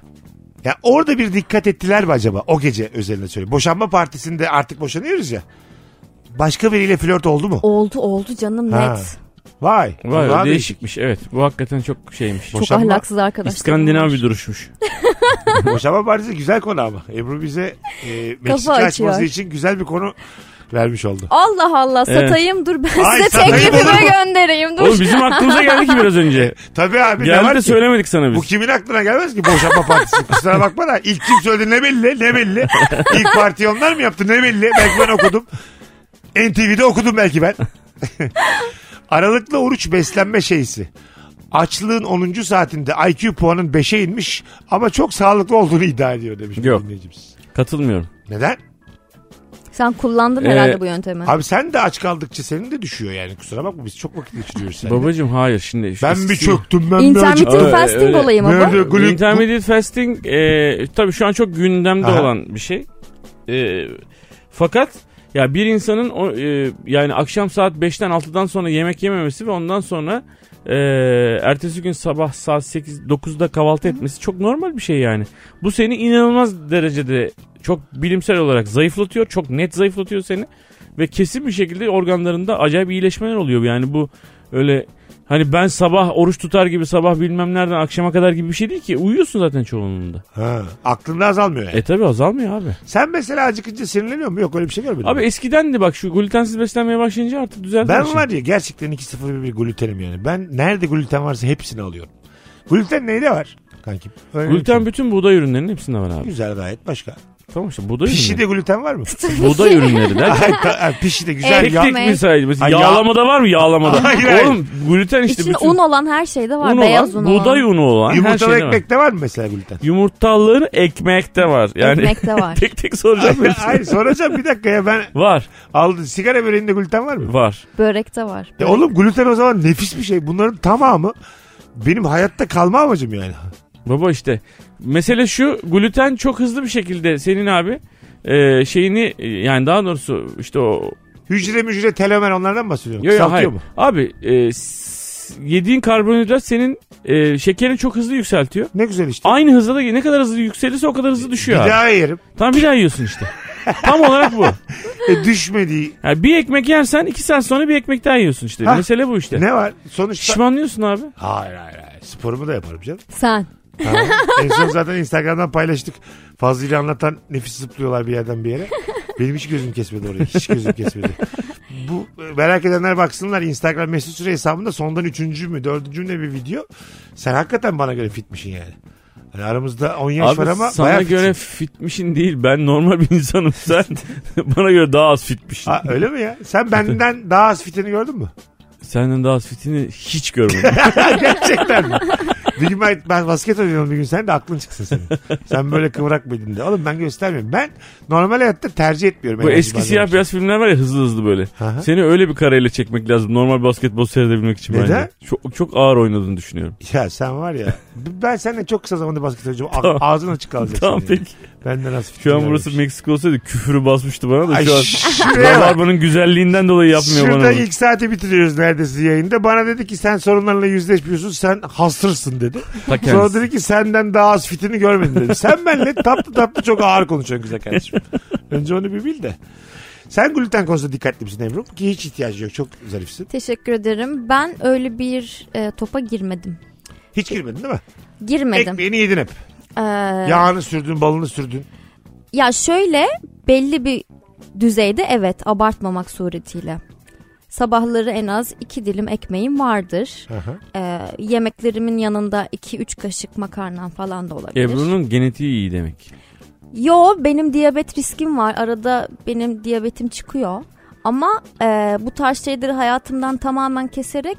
Ya orada bir dikkat ettiler mi acaba? O gece özelinde söyleyeyim. Boşanma partisinde artık boşanıyoruz ya. Başka biriyle flört oldu mu? Oldu oldu canım Ha. net. Vay. Vay Vallahi değişikmiş evet. Bu hakikaten çok şeymiş. Çok Boşanma- ahlaksız arkadaşlar. İskandinav bunlar. bir duruşmuş. değişik. Boşanma partisi güzel konu ama. Ebru bize e, Meksika açıyor. açması için güzel bir konu vermiş oldu. Allah Allah Evet. satayım dur ben Ay, size satayım olur teklifimi mu? göndereyim dur. Oğlum bizim aklımıza geldi ki biraz önce. Tabii abi. ne var Geldi de ki? söylemedik sana Bu biz. kimin aklına gelmez ki boşanma partisi? Kusura bakma da ilk kim söyledi ne belli ne belli. İlk partiyi onlar mı yaptı ne belli. Belki ben okudum. NTV'de okudum belki ben. Aralıklı oruç beslenme şeysi. Açlığın 10. saatinde IQ puanın 5'e inmiş ama çok sağlıklı olduğunu iddia ediyor demiş bir Yok. dinleyicimiz. Katılmıyorum. Neden? Sen kullandın Ee, herhalde bu yöntemi. Abi sen de aç kaldıkça senin de düşüyor yani kusura bakma biz çok vakit geçiriyoruz seninle. Babacım hayır şimdi. şu ben bir eskisi- çöktüm ben bir acıktım. Intermittent Öyle, fasting öyle. olayı mı bu? Nerede glü- Intermediate fasting e, tabii şu an çok gündemde Aha. olan bir şey. E, fakat ya bir insanın o, e, yani akşam saat 5'ten 6'dan sonra yemek yememesi ve ondan sonra e, ertesi gün sabah saat 8 9'da kahvaltı etmesi çok normal bir şey yani. Bu seni inanılmaz derecede çok bilimsel olarak zayıflatıyor. Çok net zayıflatıyor seni ve kesin bir şekilde organlarında acayip iyileşmeler oluyor. Yani bu öyle hani ben sabah oruç tutar gibi sabah bilmem nereden akşama kadar gibi bir şey değil ki. Uyuyorsun zaten çoğunluğunda. Ha, aklında azalmıyor yani. E tabi azalmıyor abi. Sen mesela acıkınca sinirleniyor mu? Yok öyle bir şey görmedim. Abi eskiden de bak şu glutensiz beslenmeye başlayınca artık düzeldi. her Ben şey. var ya gerçekten 2-0 bir glutenim yani. Ben nerede gluten varsa hepsini alıyorum. Gluten neyde var kankim? Öyle Gluten bir şey. bütün buğday ürünlerinin hepsinde var abi. Güzel gayet başka. Tamam işte buğday Pişi de ürünleri. gluten var mı? Buğday ürünleri der. Ay, ta- ay, Pişi de güzel. Evet. Tek Ya, tek Yapmayın. mi sayacağız? Ay, ya- Yağlamada var mı yağlamada? Hayır, hayır. Oğlum gluten işte İçinde bütün un olan her şeyde var. un beyaz olan, un olan. buğday unu olan her yumurtalı şeyde var. ekmekte var mı mesela gluten? Yumurtalı ekmek de var. Yani Ekmek de var. tek tek soracağım. Ya, hepsini. Hayır soracağım bir dakika ya ben var. aldım. Sigara böreğinde gluten var mı? Var. Börekte var. Ya oğlum gluten o zaman nefis bir şey. Bunların tamamı benim hayatta kalma amacım yani. Baba işte. Mesele şu gluten çok hızlı bir şekilde senin abi e, şeyini e, yani daha doğrusu işte o Hücre mücre telomer onlardan bahsediyorum. Yo, yo, hayır. Kısaltıyor mu? Abi e, s- yediğin karbonhidrat senin e, şekerini çok hızlı yükseltiyor. Ne güzel işte. Aynı hızda da ne kadar hızlı yükselirse o kadar hızlı Bir düşüyor. abi. daha yerim. Tam bir daha yiyorsun işte. Tam olarak bu. E, düşmediği Yani bir ekmek yersen iki saat sonra bir ekmek daha yiyorsun işte. Hah. Mesele bu işte. ne var? Sonuçta Şişmanlıyorsun abi. Hayır hayır hayır. Sporumu da yaparım canım. Sen. Ha. en son zaten Instagram'dan paylaştık. Fazlıyla anlatan nefis zıplıyorlar bir yerden bir yere. Benim hiç gözüm kesmedi orayı. Hiç gözüm kesmedi. Bu e, merak edenler baksınlar Instagram mesut süre hesabında sondan üçüncü mü dördüncü mü ne bir video. Sen hakikaten bana göre fitmişsin yani. Hani aramızda 10 yaş var abi ama sana bayağı göre göre... fitmişin değil. Ben normal bir insanım. Sen bana göre daha az fitmişsin. Aa, öyle mi ya? Sen benden daha az fitini gördün mü? Senden daha az fitini hiç görmedim. Gerçekten mi? Bir gün ben, ben basket oynuyorum bir gün sen de aklın çıksın senin. Sen böyle kıvrak belinde. Oğlum ben göstermiyorum. Ben normal hayatta tercih etmiyorum. Bu enerji eski bazen. siyah beyaz filmler var ya hızlı hızlı böyle. Aha. Seni öyle bir kareyle çekmek lazım normal basketbol seyredebilmek için Neden? bence. Çok, çok ağır oynadığını düşünüyorum. Ya sen var ya. Ben seninle çok kısa zamanda basket oynayacağım. A- Tamam. Ağzın açık kalacak. Tamam senin. peki. Benden az fikir Şu an vermiş. burası Meksika olsaydı küfürü basmıştı bana da Ay, şu an. şuraya bak. Rabarbanın güzelliğinden dolayı yapmıyor Şurada bana. bunu. ilk saati bitiriyoruz neredeyse yayında. Bana dedi ki sen sorunlarla yüzleşmiyorsun sen hasırsın dedi. Ta kendisi. Sonra dedi ki senden daha az fitini görmedin dedi. Sen benimle tatlı tatlı çok ağır konuşuyorsun güzel kardeşim. Önce onu bir bil de. Sen gluten konusunda dikkatli misin Ebru? Ki hiç ihtiyacı yok. Çok zarifsin. Teşekkür ederim. Ben öyle bir e, topa girmedim. Hiç girmedin değil mi? Girmedim. Ekmeğini yedin hep. Ee, Yağını sürdün, balını sürdün. Ya şöyle belli bir düzeyde evet abartmamak suretiyle. Sabahları en az iki dilim ekmeğim vardır. Aha. Ee, yemeklerimin yanında 2-3 kaşık makarnam falan da olabilir. Ebru'nun E, genetiği iyi demek. Yo benim diyabet riskim var. Arada benim diyabetim çıkıyor. Ama e, bu tarz şeyleri hayatımdan tamamen keserek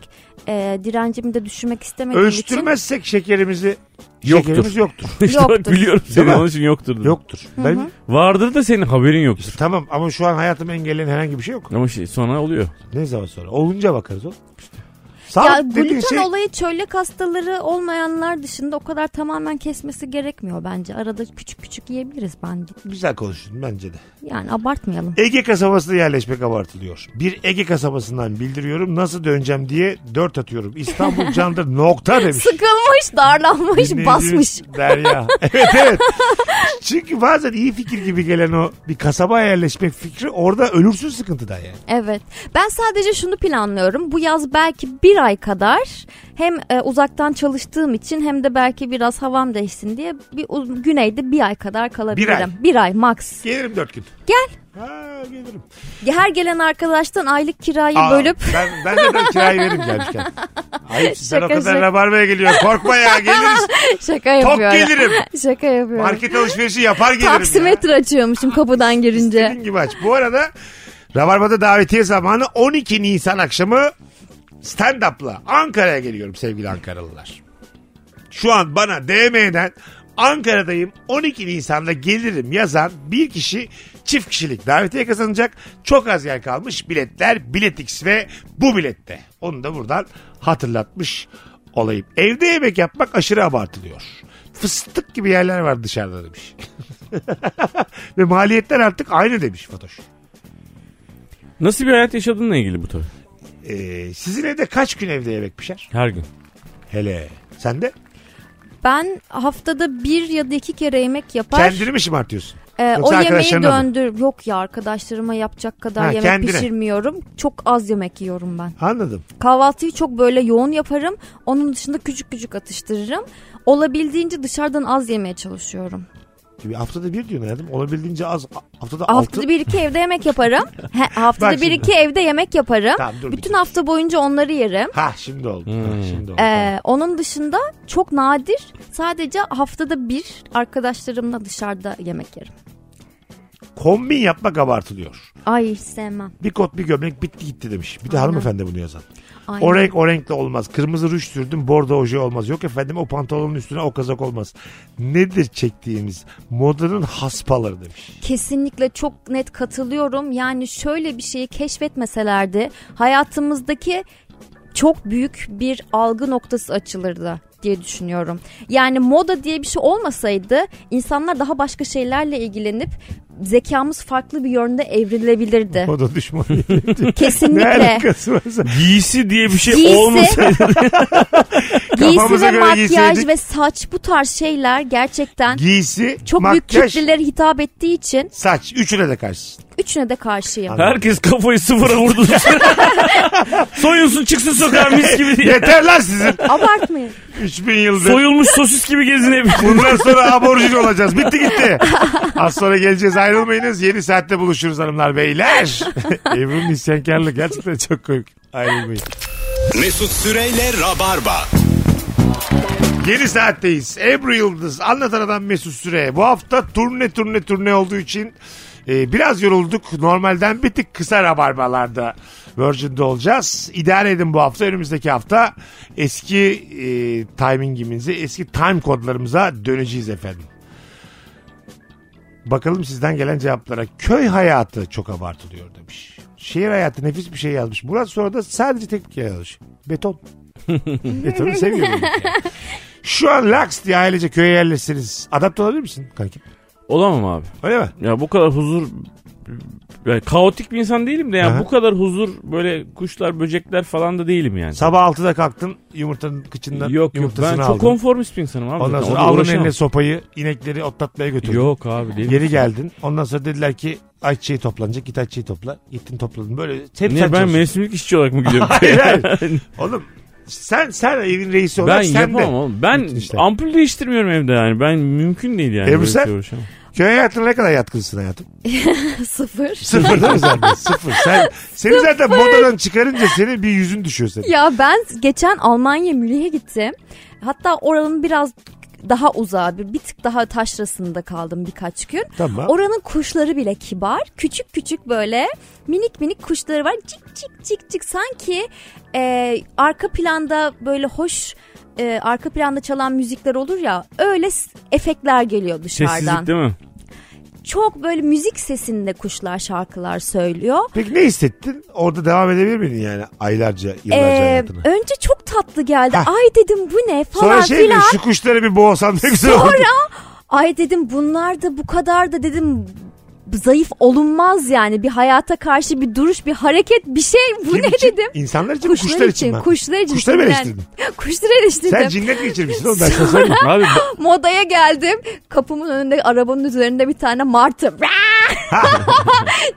e, direncimi de düşürmek istemediğim için Ölçtürmezsek şekerimizi Yoktur. Şekerimiz yoktur. işte bak Yoktur. biliyorum Değil seni mi? onun için yoktur. dedim. Yoktur. Ben, Vardır da senin haberin yoktur. tamam ama şu an hayatımı engelleyen herhangi bir şey yok. Ama şey sonra oluyor. Ne zaman sonra? Olunca bakarız oğlum. Ya Sağlık dediğin gluten şey olayı çölyak hastaları olmayanlar dışında o kadar tamamen kesmesi gerekmiyor bence. Arada küçük küçük yiyebiliriz bence. güzel konuştun bence de. Yani abartmayalım. Ege kasabasına yerleşmek abartılıyor. Bir Ege kasabasından bildiriyorum nasıl döneceğim diye dört atıyorum. İstanbul candır nokta demiş. Sıkılmış, darlanmış, Dinleyicimiz basmış. Derya. evet evet. Çünkü bazen iyi fikir gibi gelen o bir kasabaya yerleşmek fikri orada ölürsün sıkıntıdan yani. Evet. Ben sadece şunu planlıyorum. Bu yaz belki bir ay kadar hem e, uzaktan çalıştığım için hem de belki biraz havam değişsin diye bir u- güneyde bir ay kadar kalabilirim. Bir ay. max. Gelirim dört gün. Gel. Ha gelirim. Her gelen arkadaştan aylık kirayı Aa, bölüp Ben, ben de ben kirayı veririm gelmişken. Ayıp sen o Şaka, kadar şaka. rabarbaya geliyorsun. Korkma ya geliriz. şaka Tok yapıyorum. gelirim. Şaka yapıyorum. Market alışverişi yapar gelirim ya. Taksimetre açıyormuşum kapıdan girince. İstediğin gibi aç. Bu arada Rabarba'da davetiye zamanı 12 Nisan akşamı stand-up'la Ankara'ya geliyorum sevgili Ankaralılar. Şu an bana DM'den Ankara'dayım 12 Nisan'da gelirim yazan bir kişi çift kişilik davetiye kazanacak. Çok az yer kalmış biletler Biletix ve bu bilette. Onu da buradan hatırlatmış olayım. Evde yemek yapmak aşırı abartılıyor. Fıstık gibi yerler var dışarıda demiş. Ve maliyetler artık aynı demiş Fatoş. Nasıl bir hayat yaşadığınla ilgili bu tabii. Ee, sizin evde kaç gün evde yemek pişer? Her gün. Hele. Sen de Ben haftada bir ya da iki kere yemek yapar. kendini mi şımartıyorsun? Ee, o Yoksa yemeği arkadaşlarına mı? döndür. Yok ya arkadaşlarıma yapacak kadar Ha, yemek kendine. pişirmiyorum. Çok az yemek yiyorum ben. Anladım. Kahvaltıyı çok böyle yoğun yaparım. Onun dışında küçük küçük atıştırırım. Olabildiğince dışarıdan az yemeye çalışıyorum. E, Bir haftada bir diyorsun hayatım. Olabildiğince az. A- Haftada altı. Haftada bir iki evde yemek yaparım. He, haftada Bak bir şimdi. iki evde yemek yaparım. Tamam, dur bir Bütün dur. hafta boyunca onları yerim. Ha şimdi oldu. Ha, şimdi oldu. Ee, onun dışında çok nadir sadece haftada bir arkadaşlarımla dışarıda yemek yerim. Kombin yapmak abartılıyor. Ay hiç sevmem. Bir kot bir gömlek bitti gitti demiş. Bir de hanımefendi bunu yazan. Ay. O renk o renkle olmaz. Kırmızı ruj sürdüm bordo oje olmaz. Yok efendim o pantolonun üstüne o kazak olmaz. Nedir çektiğimiz? Modanın haspaları demiş. Kesinlikle çok net katılıyorum. Yani şöyle bir şeyi keşfetmeselerdi hayatımızdaki çok büyük bir algı noktası açılırdı diye düşünüyorum. Yani moda diye bir şey olmasaydı insanlar daha başka şeylerle ilgilenip zekamız farklı bir yönde evrilebilirdi. Moda düşmanı. ne Kesinlikle. alakası varsa. Giysi diye bir şey Giysi. olmasaydı. Giysi Kafamıza ve göre giyseydik. makyaj ve saç bu tarz şeyler gerçekten Giysi, çok büyük makyaj, kitlelere hitap ettiği için saç. Üçüne de karşısın. üçüne de karşıyım. Herkes kafayı sıfıra vurdu. Soyulsun çıksın sokağa mis gibi diye. Yeter lan sizin. Abartmayın. 3000 yıldır. Soyulmuş sosis gibi gezin hep. Bundan sonra aborjin olacağız. Bitti gitti. Az sonra geleceğiz ayrılmayınız. Yeni saatte buluşuruz hanımlar beyler. Evrim isyankarlık gerçekten çok komik. Ayrılmayın. Mesut Süreyle Rabarba. Yeni saatteyiz. Ebru Yıldız, Anlatan Adam Mesut Süre. Bu hafta turne turne turne olduğu için Ee, biraz yorulduk. Normalden bir tık kısa rabarbalarda Virgin'de olacağız. İdare edin bu hafta. Önümüzdeki hafta eski e, timingimizi, eski time kodlarımıza döneceğiz efendim. Bakalım sizden gelen cevaplara. Köy hayatı çok abartılıyor demiş. Şehir hayatı nefis bir şey yazmış. Murat sonra da sadece tek bir kere yazmış. Beton. Betonu seviyorum. Şu an laks diye ailece köye yerleşseniz adapte olabilir misin kankim? Olamam abi. Öyle mi? Ya bu kadar huzur yani kaotik bir insan değilim de yani Aha. bu kadar huzur böyle kuşlar böcekler falan da değilim yani. Sabah 6'da kalktın yumurtanın kıçından Yok yok yumurtasını ben aldın. çok konformist bir insanım abi. Ondan zaten. sonra Ona aldın uğraşamam. eline sopayı inekleri otlatmaya götürdün. Yok abi değil. Geri geldin. Ondan sonra dediler ki ayçiçeği toplanacak. Git ayçiçeği topla. Gittin topladın. Böyle hep sen Niye ben çalışıyorsun. mevsimlik işçi olarak mı gidiyorum? Hayır, hayır. Oğlum sen sen evin reisi olarak ben sen yapamam de. oğlum. Ben Bütün işler. ampul değiştirmiyorum evde yani. Ben mümkün değil yani. Ebru böyle sen? şey uğraşamam. Köy hayatına ne kadar yatkınsın hayatım? Sıfır. Sıfır değil mi zaten? Sıfır. Sen, seni zaten modadan çıkarınca senin bir yüzün düşüyor senin. Ya ben geçen Almanya Münih'e gittim. Hatta oranın biraz daha uzağı bir, bir tık daha taşrasında kaldım birkaç gün. Tamam. Oranın kuşları bile kibar. Küçük küçük böyle minik minik kuşları var. Cik cik cik cik sanki e, arka planda böyle hoş e, arka planda çalan müzikler olur ya öyle s- efektler geliyor dışarıdan. Sessizlik değil mi? Çok böyle müzik sesinde kuşlar şarkılar söylüyor. Peki ne hissettin? Orada devam edebilir miydin yani aylarca, yıllarca Ee, hayatına? önce çok tatlı geldi. Hah. Ay dedim bu ne falan Sonra şey mi filan. şu kuşları bir boğsam ne güzel olur. Ay dedim bunlar da bu kadar da dedim zayıf olunmaz yani bir hayata karşı bir duruş bir hareket bir şey bu Kim ne için? dedim İnsanlar için kuşlar, için, mi? kuşlar için Kuşları mı Ben- eleştirdin? kuşları eleştirdim Sen cinnet geçirmişsin oğlum ben sana söyleyeyim. Abi ba- modaya geldim kapımın önünde arabanın üzerinde bir tane martı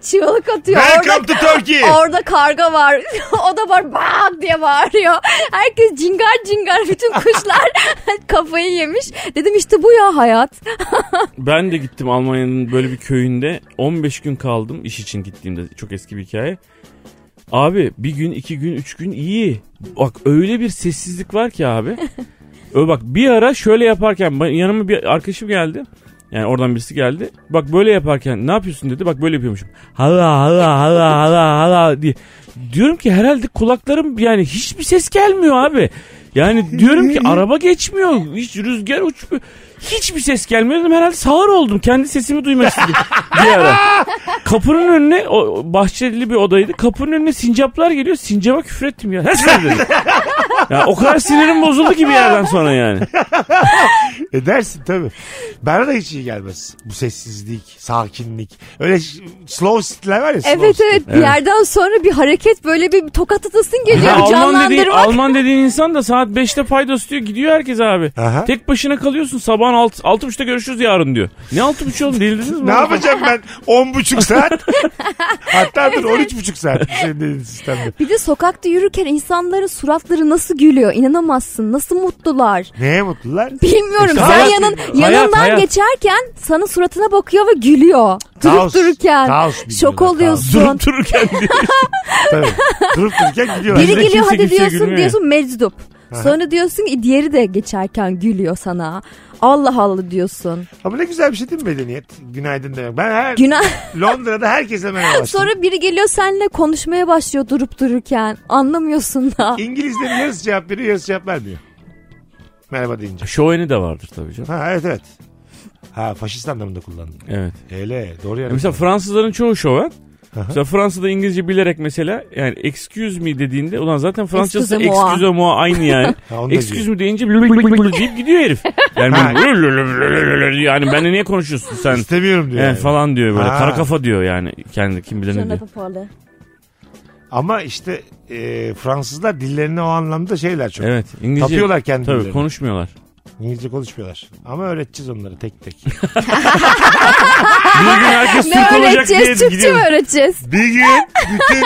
çığlık atıyor Welcome orada to Turkey. Orada karga var. o da var bak diye bağırıyor. Herkes cingar cingar bütün kuşlar kafayı yemiş. Dedim işte bu ya hayat. ben de gittim Almanya'nın böyle bir köyünde. 15 gün kaldım iş için gittiğimde. Çok eski bir hikaye. Abi bir gün, iki gün, üç gün iyi. Bak öyle bir sessizlik var ki abi. Ö bak bir ara şöyle yaparken ben- yanıma bir arkadaşım geldi. Yani oradan birisi geldi. Bak böyle yaparken ne yapıyorsun dedi. Bak böyle yapıyormuşum. Hala hala hala hala hala diye. Diyorum ki herhalde kulaklarım yani hiçbir ses gelmiyor abi. Yani diyorum ki araba geçmiyor. Hiç rüzgar uçmuyor. Hiçbir ses gelmiyor dedim. Herhalde sağır oldum. Kendi sesimi duymak istedim. bir ara. Kapının önüne o bahçeli bir odaydı. Kapının önüne sincaplar geliyor. Sincaba küfrettim ya. Nasıl dedim. Ya o kadar sinirim bozuldu ki bir yerden sonra yani. Edersin E, tabii. Bana da hiç iyi gelmez. Bu sessizlik, sakinlik. Öyle ş- slow sitler var ya. slow Evet sitler. evet bir yerden sonra bir hareket böyle bir tokat atasın geliyor Ya Alman dediğin, canlandırmak. Alman dediğin insan da saat 5'te paydos diyor gidiyor herkes abi. Aha. Tek başına kalıyorsun sabahın 6, 6.30'da görüşürüz yarın diyor. Ne 6.30 oğlum delirdiniz mi? Ne yapacağım ben? 10 buçuk saat. Hatta dur 13 buçuk saat. Senin dediğin sistemde. Bir de sokakta yürürken insanların suratları nasıl gülüyor inanamazsın nasıl mutlular. Neye mutlular? Bilmiyorum İşte sen hayat- yanın, hayat, yanından hayat. geçerken sana suratına bakıyor ve gülüyor. Durup Kaos, dururken kaos bir şok dünya, oluyorsun. Durup dururken diyor. Tabii. Durup dururken gidiyorlar. Biri Bizde geliyor kimse hadi kimseye diyorsun gülmüyor. diyorsun meczup. Sonra diyorsun ki diğeri de geçerken gülüyor sana. Allah Allah diyorsun. Ama ne güzel bir şey değil mi medeniyet? Günaydın demek. Ben her Günah. Londra'da herkesle merhaba Sonra... Sonra biri geliyor seninle konuşmaya başlıyor durup dururken. Anlamıyorsun da. İngilizlerin yarısı cevap veriyor yarısı cevap vermiyor. Merhaba deyince. Şoveni de vardır tabii canım. Ha evet evet. Ha faşist anlamında kullandım. Evet. Hele doğru Ya yani. Mesela Fransızların çoğu şoven. Mesela Fransa'da İngilizce bilerek mesela yani excuse me dediğinde ulan zaten Fransızcası Excuse moi. excuse moi aynı yani. Ha, onu da excuse me deyince blü blü blü blü deyip gidiyor herif. Yani, Ha. böyle blü blü blü blü blü blü yani benimle niye konuşuyorsun sen? İstemiyorum diyor. Yani yani. falan diyor böyle Ha. kara kafa diyor yani kendi kim bilir ne diyor. Ama işte e, Fransızlar dillerine o anlamda şeyler çok. Evet İngilizce. Tapıyorlar kendi Tabii dillerine. konuşmuyorlar. İngilizce konuşmuyorlar. Ama öğreteceğiz onları tek tek. Bir gün herkes Ne Türk olacak diye öğreteceğiz? Türkçe mi gidiyor. öğreteceğiz? Bir gün bütün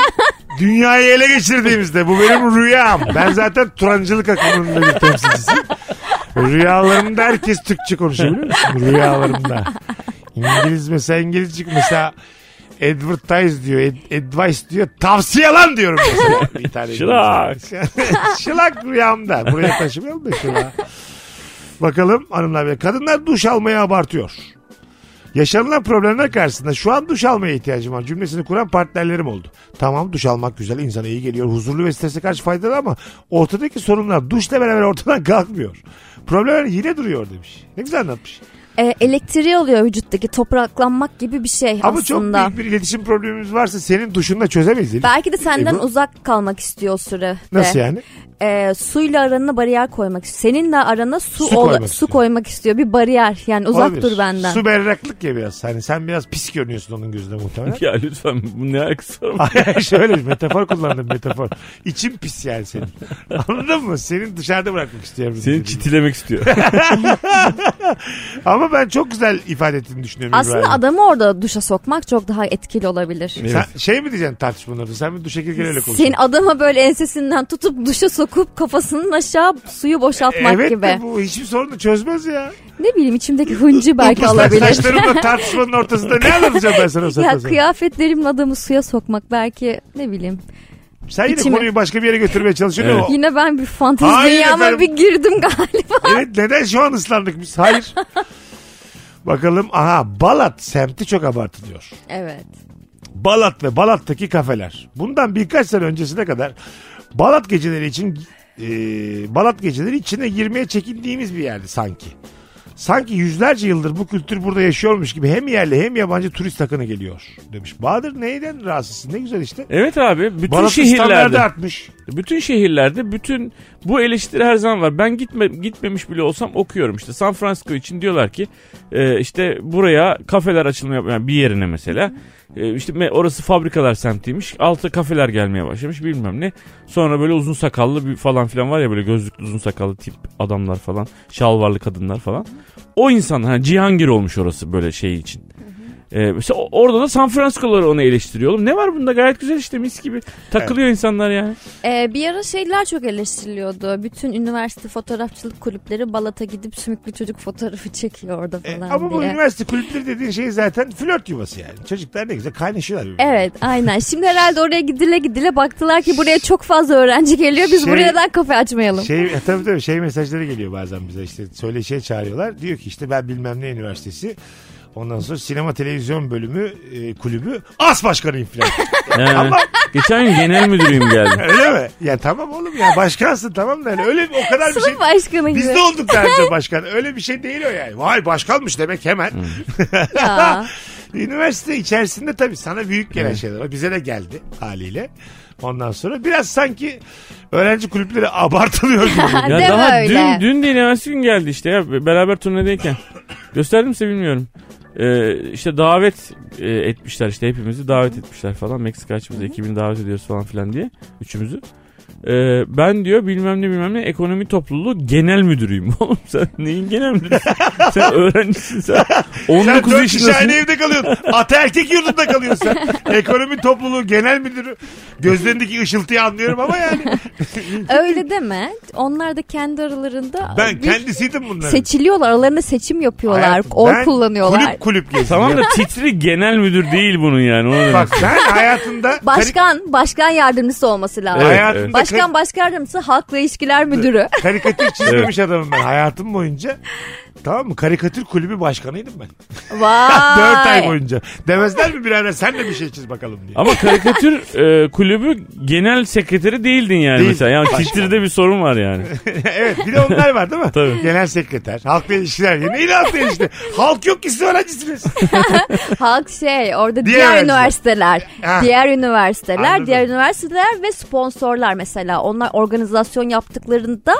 dünyayı ele geçirdiğimizde bu benim rüyam. Ben zaten Turancılık akımının da bir temsilcisiyim. Rüyalarımda herkes Türkçe konuşuyor biliyor musun? Rüyalarımda. İngiliz mesela İngilizcik mesela advertise diyor, ad- advice diyor, tavsiye lan diyorum mesela. Bir tane Şılak. şılak rüyamda. Buraya taşımayalım da şılak. Bakalım hanımlar beyler. Kadınlar duş almayı abartıyor. Yaşanılan problemler karşısında şu an duş almaya ihtiyacım var cümlesini kuran partnerlerim oldu. Tamam duş almak güzel insana iyi geliyor huzurlu ve strese karşı faydalı ama ortadaki sorunlar duşla beraber ortadan kalkmıyor. Problemler yine duruyor demiş. Ne güzel anlatmış. E, elektriği alıyor vücuttaki topraklanmak gibi bir şey Ama aslında. çok büyük bir iletişim problemimiz varsa senin duşunla çözemeyiz. Elif. Belki de senden E, bu- uzak kalmak istiyor o süre. Nasıl yani? E, suyla arana bariyer koymak istiyor. Seninle arana su Su ol- koymak su istiyor. koymak istiyor. Bir bariyer. Yani uzak Olabilir. dur benden. Su berraklık ya biraz. Hani sen biraz pis görünüyorsun onun gözünde muhtemelen. Ya lütfen bu ne alakası var mı? Hayır, Şöyle bir metafor kullandım metafor. İçin pis yani senin. Anladın mı? Seni dışarıda bırakmak istiyorum. Seni çitilemek istiyor. Ama ben çok güzel ifade ettiğini düşünüyorum. Aslında İbrahim. adamı orada duşa sokmak çok daha etkili olabilir. Sen şey mi diyeceksin tartışmalarda? Sen bir duşa gir gel öyle konuş. Senin adama böyle ensesinden tutup duşa sokup kafasının aşağı suyu boşaltmak Evet gibi. de bu hiçbir sorunu çözmez ya. Ne bileyim içimdeki hıncı belki Sen alabilir. Saçlarımla tartışmanın ortasında ne anlatacağım ben sana? o ya saatten sonra? kıyafetlerimle adamı suya sokmak belki ne bileyim. Sen yine içime- konuyu başka bir yere götürmeye çalışıyorsun. Evet. ama- Yine ben bir fantezi Hayır dünyama efendim. bir girdim galiba. Evet neden şu an ıslandık biz? Hayır. Bakalım aha Balat semti çok abartılıyor. Evet. Balat ve Balat'taki kafeler. Bundan birkaç sene öncesine kadar Balat geceleri için e, Balat geceleri içine girmeye çekindiğimiz bir yerdi sanki. Sanki yüzlerce yıldır bu kültür burada yaşıyormuş gibi hem yerli hem yabancı turist akını geliyor demiş. Bahadır neyden rahatsızsın? Ne güzel işte. Evet abi bütün Balatistanlarda şehirlerde artmış. bütün şehirlerde bütün bu eleştiri her zaman var. Ben gitme gitmemiş bile olsam okuyorum işte. San Francisco için diyorlar ki e, işte buraya kafeler açılma yapmaya bir yerine mesela e, işte me- orası fabrikalar semtiymiş. Altı kafeler gelmeye başlamış bilmem ne. Sonra böyle uzun sakallı bir falan filan var ya böyle gözlüklü uzun sakallı tip adamlar falan, şalvarlı kadınlar falan. O insan hani Cihangir olmuş orası böyle şey için. Ee, mesela o- orada da San Francisco'ları onu eleştiriyor oğlum. Ne var bunda gayet güzel işte mis gibi. Takılıyor insanlar yani. Ee, bir ara şeyler çok eleştiriliyordu. Bütün üniversite fotoğrafçılık kulüpleri Balat'a gidip sümüklü çocuk fotoğrafı çekiyor orada E, falan ama bu diye. üniversite kulüpleri dediğin şey zaten flört yuvası yani. Çocuklar ne güzel kaynaşıyorlar. birbirine. Evet aynen. Şimdi herhalde oraya gidile gidile baktılar ki buraya çok fazla öğrenci geliyor. Biz Şey- buraya neden kafe açmayalım? Şey e, tabii tabii şey mesajları geliyor bazen bize işte söyleşiye çağırıyorlar. Diyor ki işte ben bilmem ne üniversitesi. Ondan sonra sinema televizyon bölümü e, kulübü as başkanıyım falan. Ee, geçen gün genel müdürüyüm geldi. öyle mi? Ya tamam oğlum ya başkansın tamam da yani öyle o kadar bir şey. Sınıf başkanı gibi. Biz de olduk daha önce başkan. Öyle bir şey değil o yani. Vay başkanmış demek hemen. Ya. Üniversite içerisinde tabii sana büyük gelen şeyler var. Bize de geldi haliyle. Ondan sonra biraz sanki öğrenci kulüpleri abartılıyor gibi. Ya Deme daha öyle. dün dün değil evvelsi gün geldi işte ya beraber turnedeyken. Gösterdim mi size bilmiyorum. Ee, işte davet e, etmişler işte hepimizi davet etmişler falan. Meksika açımıza ekibini davet ediyoruz falan filan diye üçümüzü. Ee, ben diyor bilmem ne bilmem ne ekonomi topluluğu genel müdürüyüm. Oğlum sen neyin genel müdürüsün? sen öğrencisin sen. Sen 19 dört kişi yaşındasın. aynı evde kalıyorsun. Ata erkek yurdunda kalıyorsun sen. Ekonomi topluluğu genel müdürü. Gözlerindeki ışıltıyı anlıyorum ama yani. Öyle deme. Onlar da kendi aralarında Ben bir- kendisiydim bunların. seçiliyorlar. Aralarında seçim yapıyorlar. Hayatım, Oy ben kullanıyorlar. Kulüp kulüp gezdim. Tamam da titri genel müdür değil bunun yani. Onu demek Bak ben hayatımda... Başkan, başkan yardımcısı olması lazım. karik- hayatımda Başkan başkan yardımcısı halkla ilişkiler müdürü. kar- karikatür çizmemiş adamım ben hayatım boyunca. Tamam mı? Karikatür kulübü başkanıydım ben. Vay. Dört ay boyunca. Demezler mi birader sen de bir şey çiz bakalım diye. Ama karikatür e, kulübü genel sekreteri değildin yani Değil. mesela. Yani titride bir sorun var yani. evet bir de onlar var değil mi? Tabii. Genel sekreter. Halkla ilişkiler. Ya Neyle halkla ilişkiler? Halk yok ki siz öğrencisiniz. Halk şey orada Diğer diğer, öğrenciler. üniversiteler. Ha. Diğer üniversiteler, Anladım. diğer üniversiteler ve sponsorlar mesela. Onlar organizasyon yaptıklarında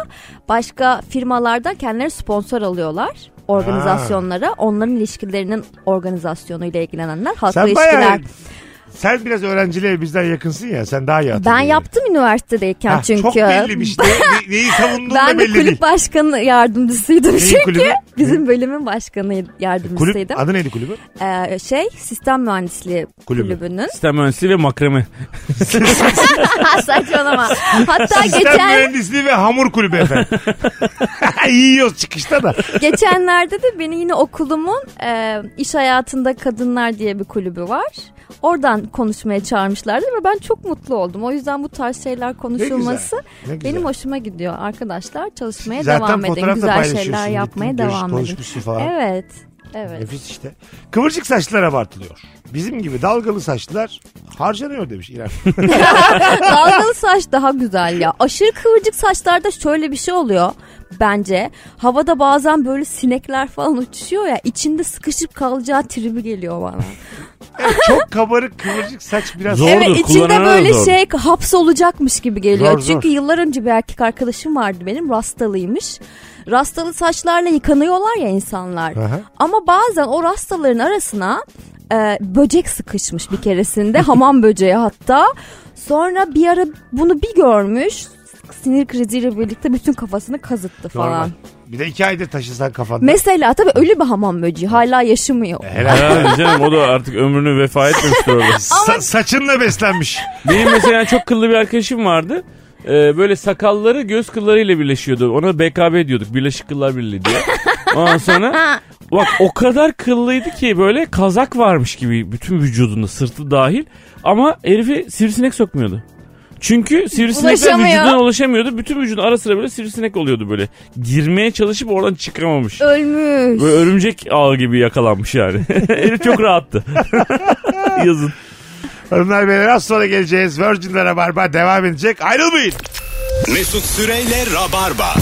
başka firmalardan kendileri sponsor alıyorlar organizasyonlara. Onların ilişkilerinin organizasyonuyla ilgilenenler halkla Sen ilişkiler. bayağı sen biraz öğrenciliğe bizden yakınsın ya. Sen daha iyi Ben hatırlıyorsun. yaptım üniversitedeyken Ha, çünkü. Çok belliymiş. Ne, ne- neyi savunduğun da Ben de belli kulüp değil. başkanı yardımcısıydım Neyin çünkü. kulübü? Bizim bölümün başkanı Kulüp, yardımcısıydım. adı neydi kulübü? Ee, şey sistem mühendisliği Kulübü. kulübünün. Sistem mühendisliği ve makreme. Ha, Saçmalama. Hatta Sistem geçen mühendisliği ve hamur kulübü efendim. İyi yiyoruz çıkışta da. geçenlerde de beni yine okulumun e, iş hayatında kadınlar diye bir kulübü var. Oradan konuşmaya çağırmışlardı ve ben çok mutlu oldum. O yüzden bu tarz şeyler konuşulması Ne güzel. benim hoşuma gidiyor. Arkadaşlar çalışmaya Zaten devam edin. fotoğraf da Güzel paylaşıyorsun. şeyler Gittin, yapmaya görüş- devam edin. Konuşmuşsun falan. Evet. Evet. Nefis işte. Kıvırcık saçlılar abartılıyor. Bizim gibi dalgalı saçlılar harcanıyor demiş İrem. Dalgalı saç daha güzel ya. Aşırı kıvırcık saçlarda şöyle bir şey oluyor bence. Havada bazen böyle sinekler falan uçuşuyor ya. içinde sıkışıp kalacağı tribi geliyor bana. Yani çok kabarık kıvırcık saç biraz Zor. Doğrudur, evet içinde kullanana da böyle doğru. şey hapsolacakmış gibi geliyor. Zor, zor. Çünkü yıllar önce bir erkek arkadaşım vardı benim rastalıymış. Rastalı saçlarla yıkanıyorlar ya insanlar. Aha. Ama bazen o rastaların arasına e, böcek sıkışmış bir keresinde hamam böceği hatta. Sonra bir ara bunu bir görmüş sinir kriziyle birlikte bütün kafasını kazıttı falan. Normal. Bir de iki aydır taşısan kafanda. Mesela tabii ölü bir hamam böceği hala yaşamıyor. Herhalde. Herhalde canım o da artık ömrünü vefa etmemiştir orada. Sa- saçınla beslenmiş. Benim mesela çok kıllı bir arkadaşım vardı. Ee, böyle sakalları göz kıllarıyla birleşiyordu. Ona BKB diyorduk. Birleşik Kıllar Birliği diye. Ondan sonra bak o kadar kıllıydı ki böyle kazak varmış gibi bütün vücudunda sırtı dahil. Ama herifi sivrisinek sokmuyordu. Çünkü sivrisinekler Ulaşamıyor. vücuduna ulaşamıyordu. Bütün vücudun ara sıra böyle sivrisinek oluyordu böyle. Girmeye çalışıp oradan çıkamamış. Ölmüş. Böyle örümcek ağı gibi yakalanmış yani. Herif çok rahattı. Yazın. Hanımlar beyler az sonra geleceğiz. Virgin'de Rabarba devam edecek. Ayrılmayın. Mesut Süreyle Rabarba.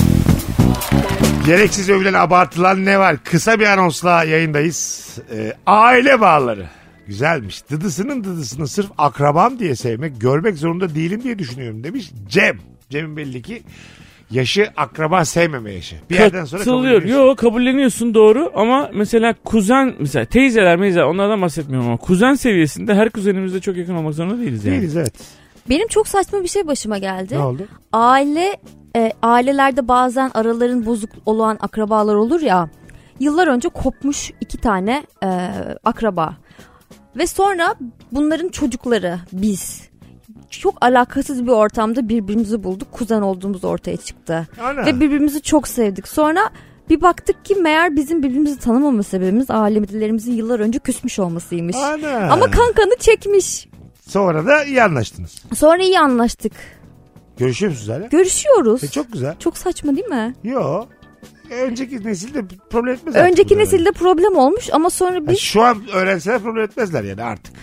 Gereksiz övülen abartılan ne var? Kısa bir anonsla yayındayız. Ee, aile bağları. Güzelmiş. Dıdısının dıdısını sırf akrabam diye sevmek, görmek zorunda değilim diye düşünüyorum demiş Cem. Cem'in belli ki yaşı akraba sevmeme yaşı. Bir yerden sonra kabul Katılıyor. ediyorsun. Yo kabulleniyorsun doğru ama mesela kuzen mesela teyzeler meyzeler onlardan bahsetmiyorum ama kuzen seviyesinde her kuzenimizle çok yakın olmak zorunda değiliz yani. Değiliz evet. Benim çok saçma bir şey başıma geldi. Ne oldu? aile e, ailelerde bazen araların bozuk olan akrabalar olur ya. Yıllar önce kopmuş iki tane e, akraba ve sonra bunların çocukları biz çok alakasız bir ortamda birbirimizi bulduk. Kuzen olduğumuz ortaya çıktı. Ana. Ve birbirimizi çok sevdik. Sonra bir baktık ki meğer bizim birbirimizi tanımama sebebimiz ailelerimizin yıllar önce küsmüş olmasıymış. Ana. Ama kankanı çekmiş. Sonra da iyi anlaştınız. Sonra iyi anlaştık. Görüşüyor musunuz hala? Görüşüyoruz. E, çok güzel. Çok saçma değil mi? Yo. Önceki nesilde problem etmez. artık Önceki bunlar. nesilde problem olmuş ama sonra Yani bir şu an öğrenseler problem etmezler yani artık.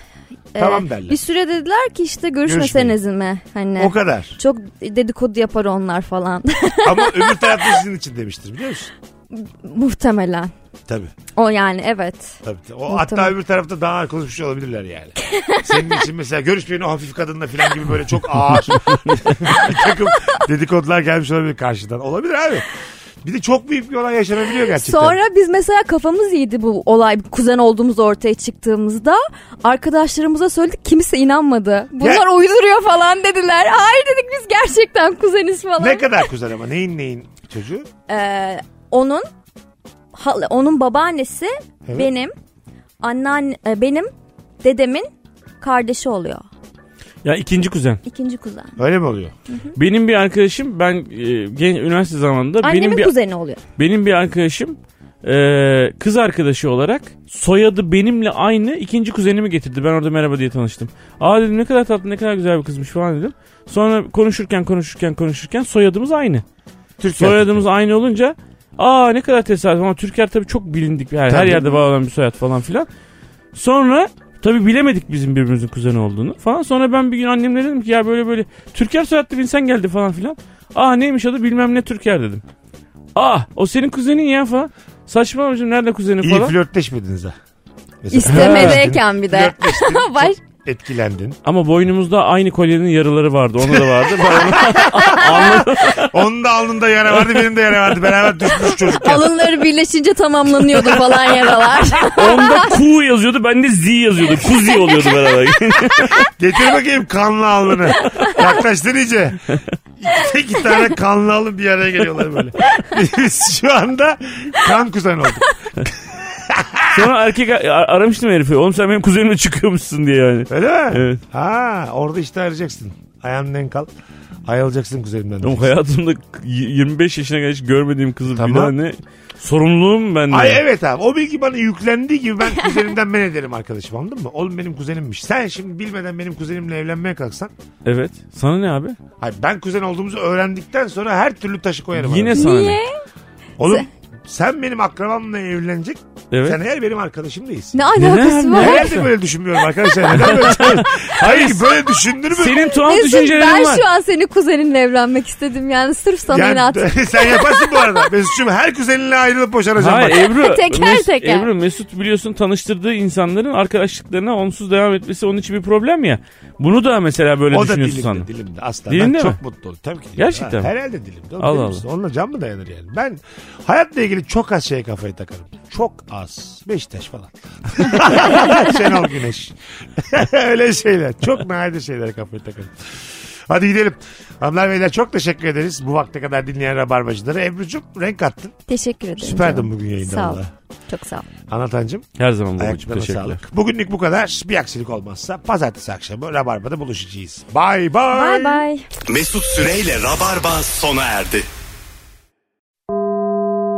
e, tamam derler. bir süre dediler ki işte görüşmeseniz mi? Hani O kadar. çok dedikodu yapar onlar falan Ama öbür tarafta sizin için demiştir biliyor musun? muhtemelen. Tabii. O yani evet. tabii. tabii. O hatta öbür tarafta daha ağır konuşmuş olabilirler yani. Senin için mesela görüşmeyin o hafif kadınla falan gibi böyle çok ağır bir takım dedikodular gelmiş olabilir karşıdan. Olabilir abi. Bir de çok büyük bir olay yaşanabiliyor gerçekten. Sonra biz mesela kafamız yedi bu olay kuzen olduğumuz ortaya çıktığımızda arkadaşlarımıza söyledik kimse inanmadı. Bunlar Ya- uyduruyor falan dediler. Hayır dedik biz gerçekten kuzeniz falan. Ne kadar kuzen ama neyin neyin çocuğu? Ee, onun hala- onun babaannesi Evet. benim anneanne e, benim dedemin kardeşi oluyor. Ya ikinci kuzen. İkinci kuzen. Öyle mi oluyor? Benim bir arkadaşım ben e, gen, üniversite zamanında Annemin benim bir kuzeni oluyor. benim bir arkadaşım e, kız arkadaşı olarak soyadı benimle aynı ikinci kuzenimi getirdi. Ben orada merhaba diye tanıştım. Aa dedim ne kadar tatlı ne kadar güzel bir kızmış falan dedim. Sonra konuşurken konuşurken konuşurken soyadımız aynı. Türkiye. Soyadımız aynı olunca aa ne kadar tesadüf ama Türker tabii çok bilindik. Yani her Tabii. yerde var olan bir soyad falan filan. Sonra tabii bilemedik bizim birbirimizin kuzeni olduğunu falan. Sonra ben bir gün annemle dedim ki ya böyle böyle Türker soyadlı bir insan geldi falan filan. Aa neymiş adı bilmem ne Türker dedim. Aa o senin kuzenin ya falan. Saçmalama canım, nerede kuzeni İyi falan. flörtleşmediniz ha. Mesela- İstemedeyken bir de. Flörtleştin, çok Baş- etkilendin. Ama boynumuzda aynı kolyenin yarıları vardı. Onda da vardı. Ben onu- Onun da alnında yara vardı benim de yara vardı. Beraber düşmüş çocukken. Alınları birleşince tamamlanıyordu falan yaralar. onda Q yazıyordu. Bende Z yazıyordu. Kuzi oluyordu beraber. Getir bakayım kanlı alnını. Yaklaştın iyice. İki, iki tane kanlı alın bir araya geliyorlar böyle. Biz şu anda kan kuzen olduk. Sonra erkek ar- aramıştım herifi. Oğlum sen benim kuzenimle çıkıyormuşsun diye yani. Öyle mi? Evet. Ha, orada işte arayacaksın. Ayağımdan kal. Ayrılacaksın kuzenimden. Oğlum hayatımda y- 25 yaşına kadar hiç görmediğim kızı Tamam. bir daha ne sorumluluğum ben de. Ay evet abi o bilgi bana yüklendiği gibi ben kuzenimden men ederim arkadaşım anladın mı? Oğlum benim kuzenimmiş. Sen şimdi bilmeden benim kuzenimle evlenmeye kalksan. Evet. Sana ne abi? Hayır ben kuzen olduğumuzu öğrendikten sonra her türlü taşı koyarım. Yine arada. sana ne? Niye? Oğlum sen benim akrabamla evlenecek Evet. Sen eğer benim arkadaşım değilsin. Ne alakası var? Herhalde böyle düşünmüyorum arkadaşlar. Neden böyle düşünüyorum? Hayır ki böyle düşündür mü? Senin tuhaf Mesut ben düşüncelerin var. şu an seni kuzeninle evlenmek istedim yani sırf sana Yani- inat. sen yaparsın bu arada. Mesut'cum her kuzeninle ayrılıp boşanacağım. Hayır bak. Ebru, Teker Mes- teker. Ebru Mesut biliyorsun tanıştırdığı insanların arkadaşlıklarına onsuz devam etmesi onun için bir problem ya. Bunu da mesela böyle O da düşünüyorsun dilimde, sandım. dilimde asla. Dilinde ben mi? çok mutlu oldum. Tabii ki. dilimde. Gerçekten Ha, mi? herhalde dilimde. Oğlum, Allah deli Allah. misin? Onunla can mı dayanır yani? Ben hayatla ilgili çok az şeye kafayı takarım. Çok az. Beşiktaş falan. Şenol Güneş. Öyle şeyler. Çok nadir şeylere kafayı takarım. Hadi gidelim. Hanımlar beyler çok teşekkür ederiz. Bu vakte kadar dinleyen Rabarbacıları. Ebru'cum renk attın. Teşekkür ederim. Süperdin canım. bugün yayında Sağ ol. valla. Çok sağ ol. Anlatancım. Her zaman babacığım Ayaklarına teşekkürler. sağlık. Bugünlük bu kadar. Bir aksilik olmazsa pazartesi akşamı Rabarba'da buluşacağız. Bay bay. Bye bye. Mesut Süreyle Rabarba sona erdi.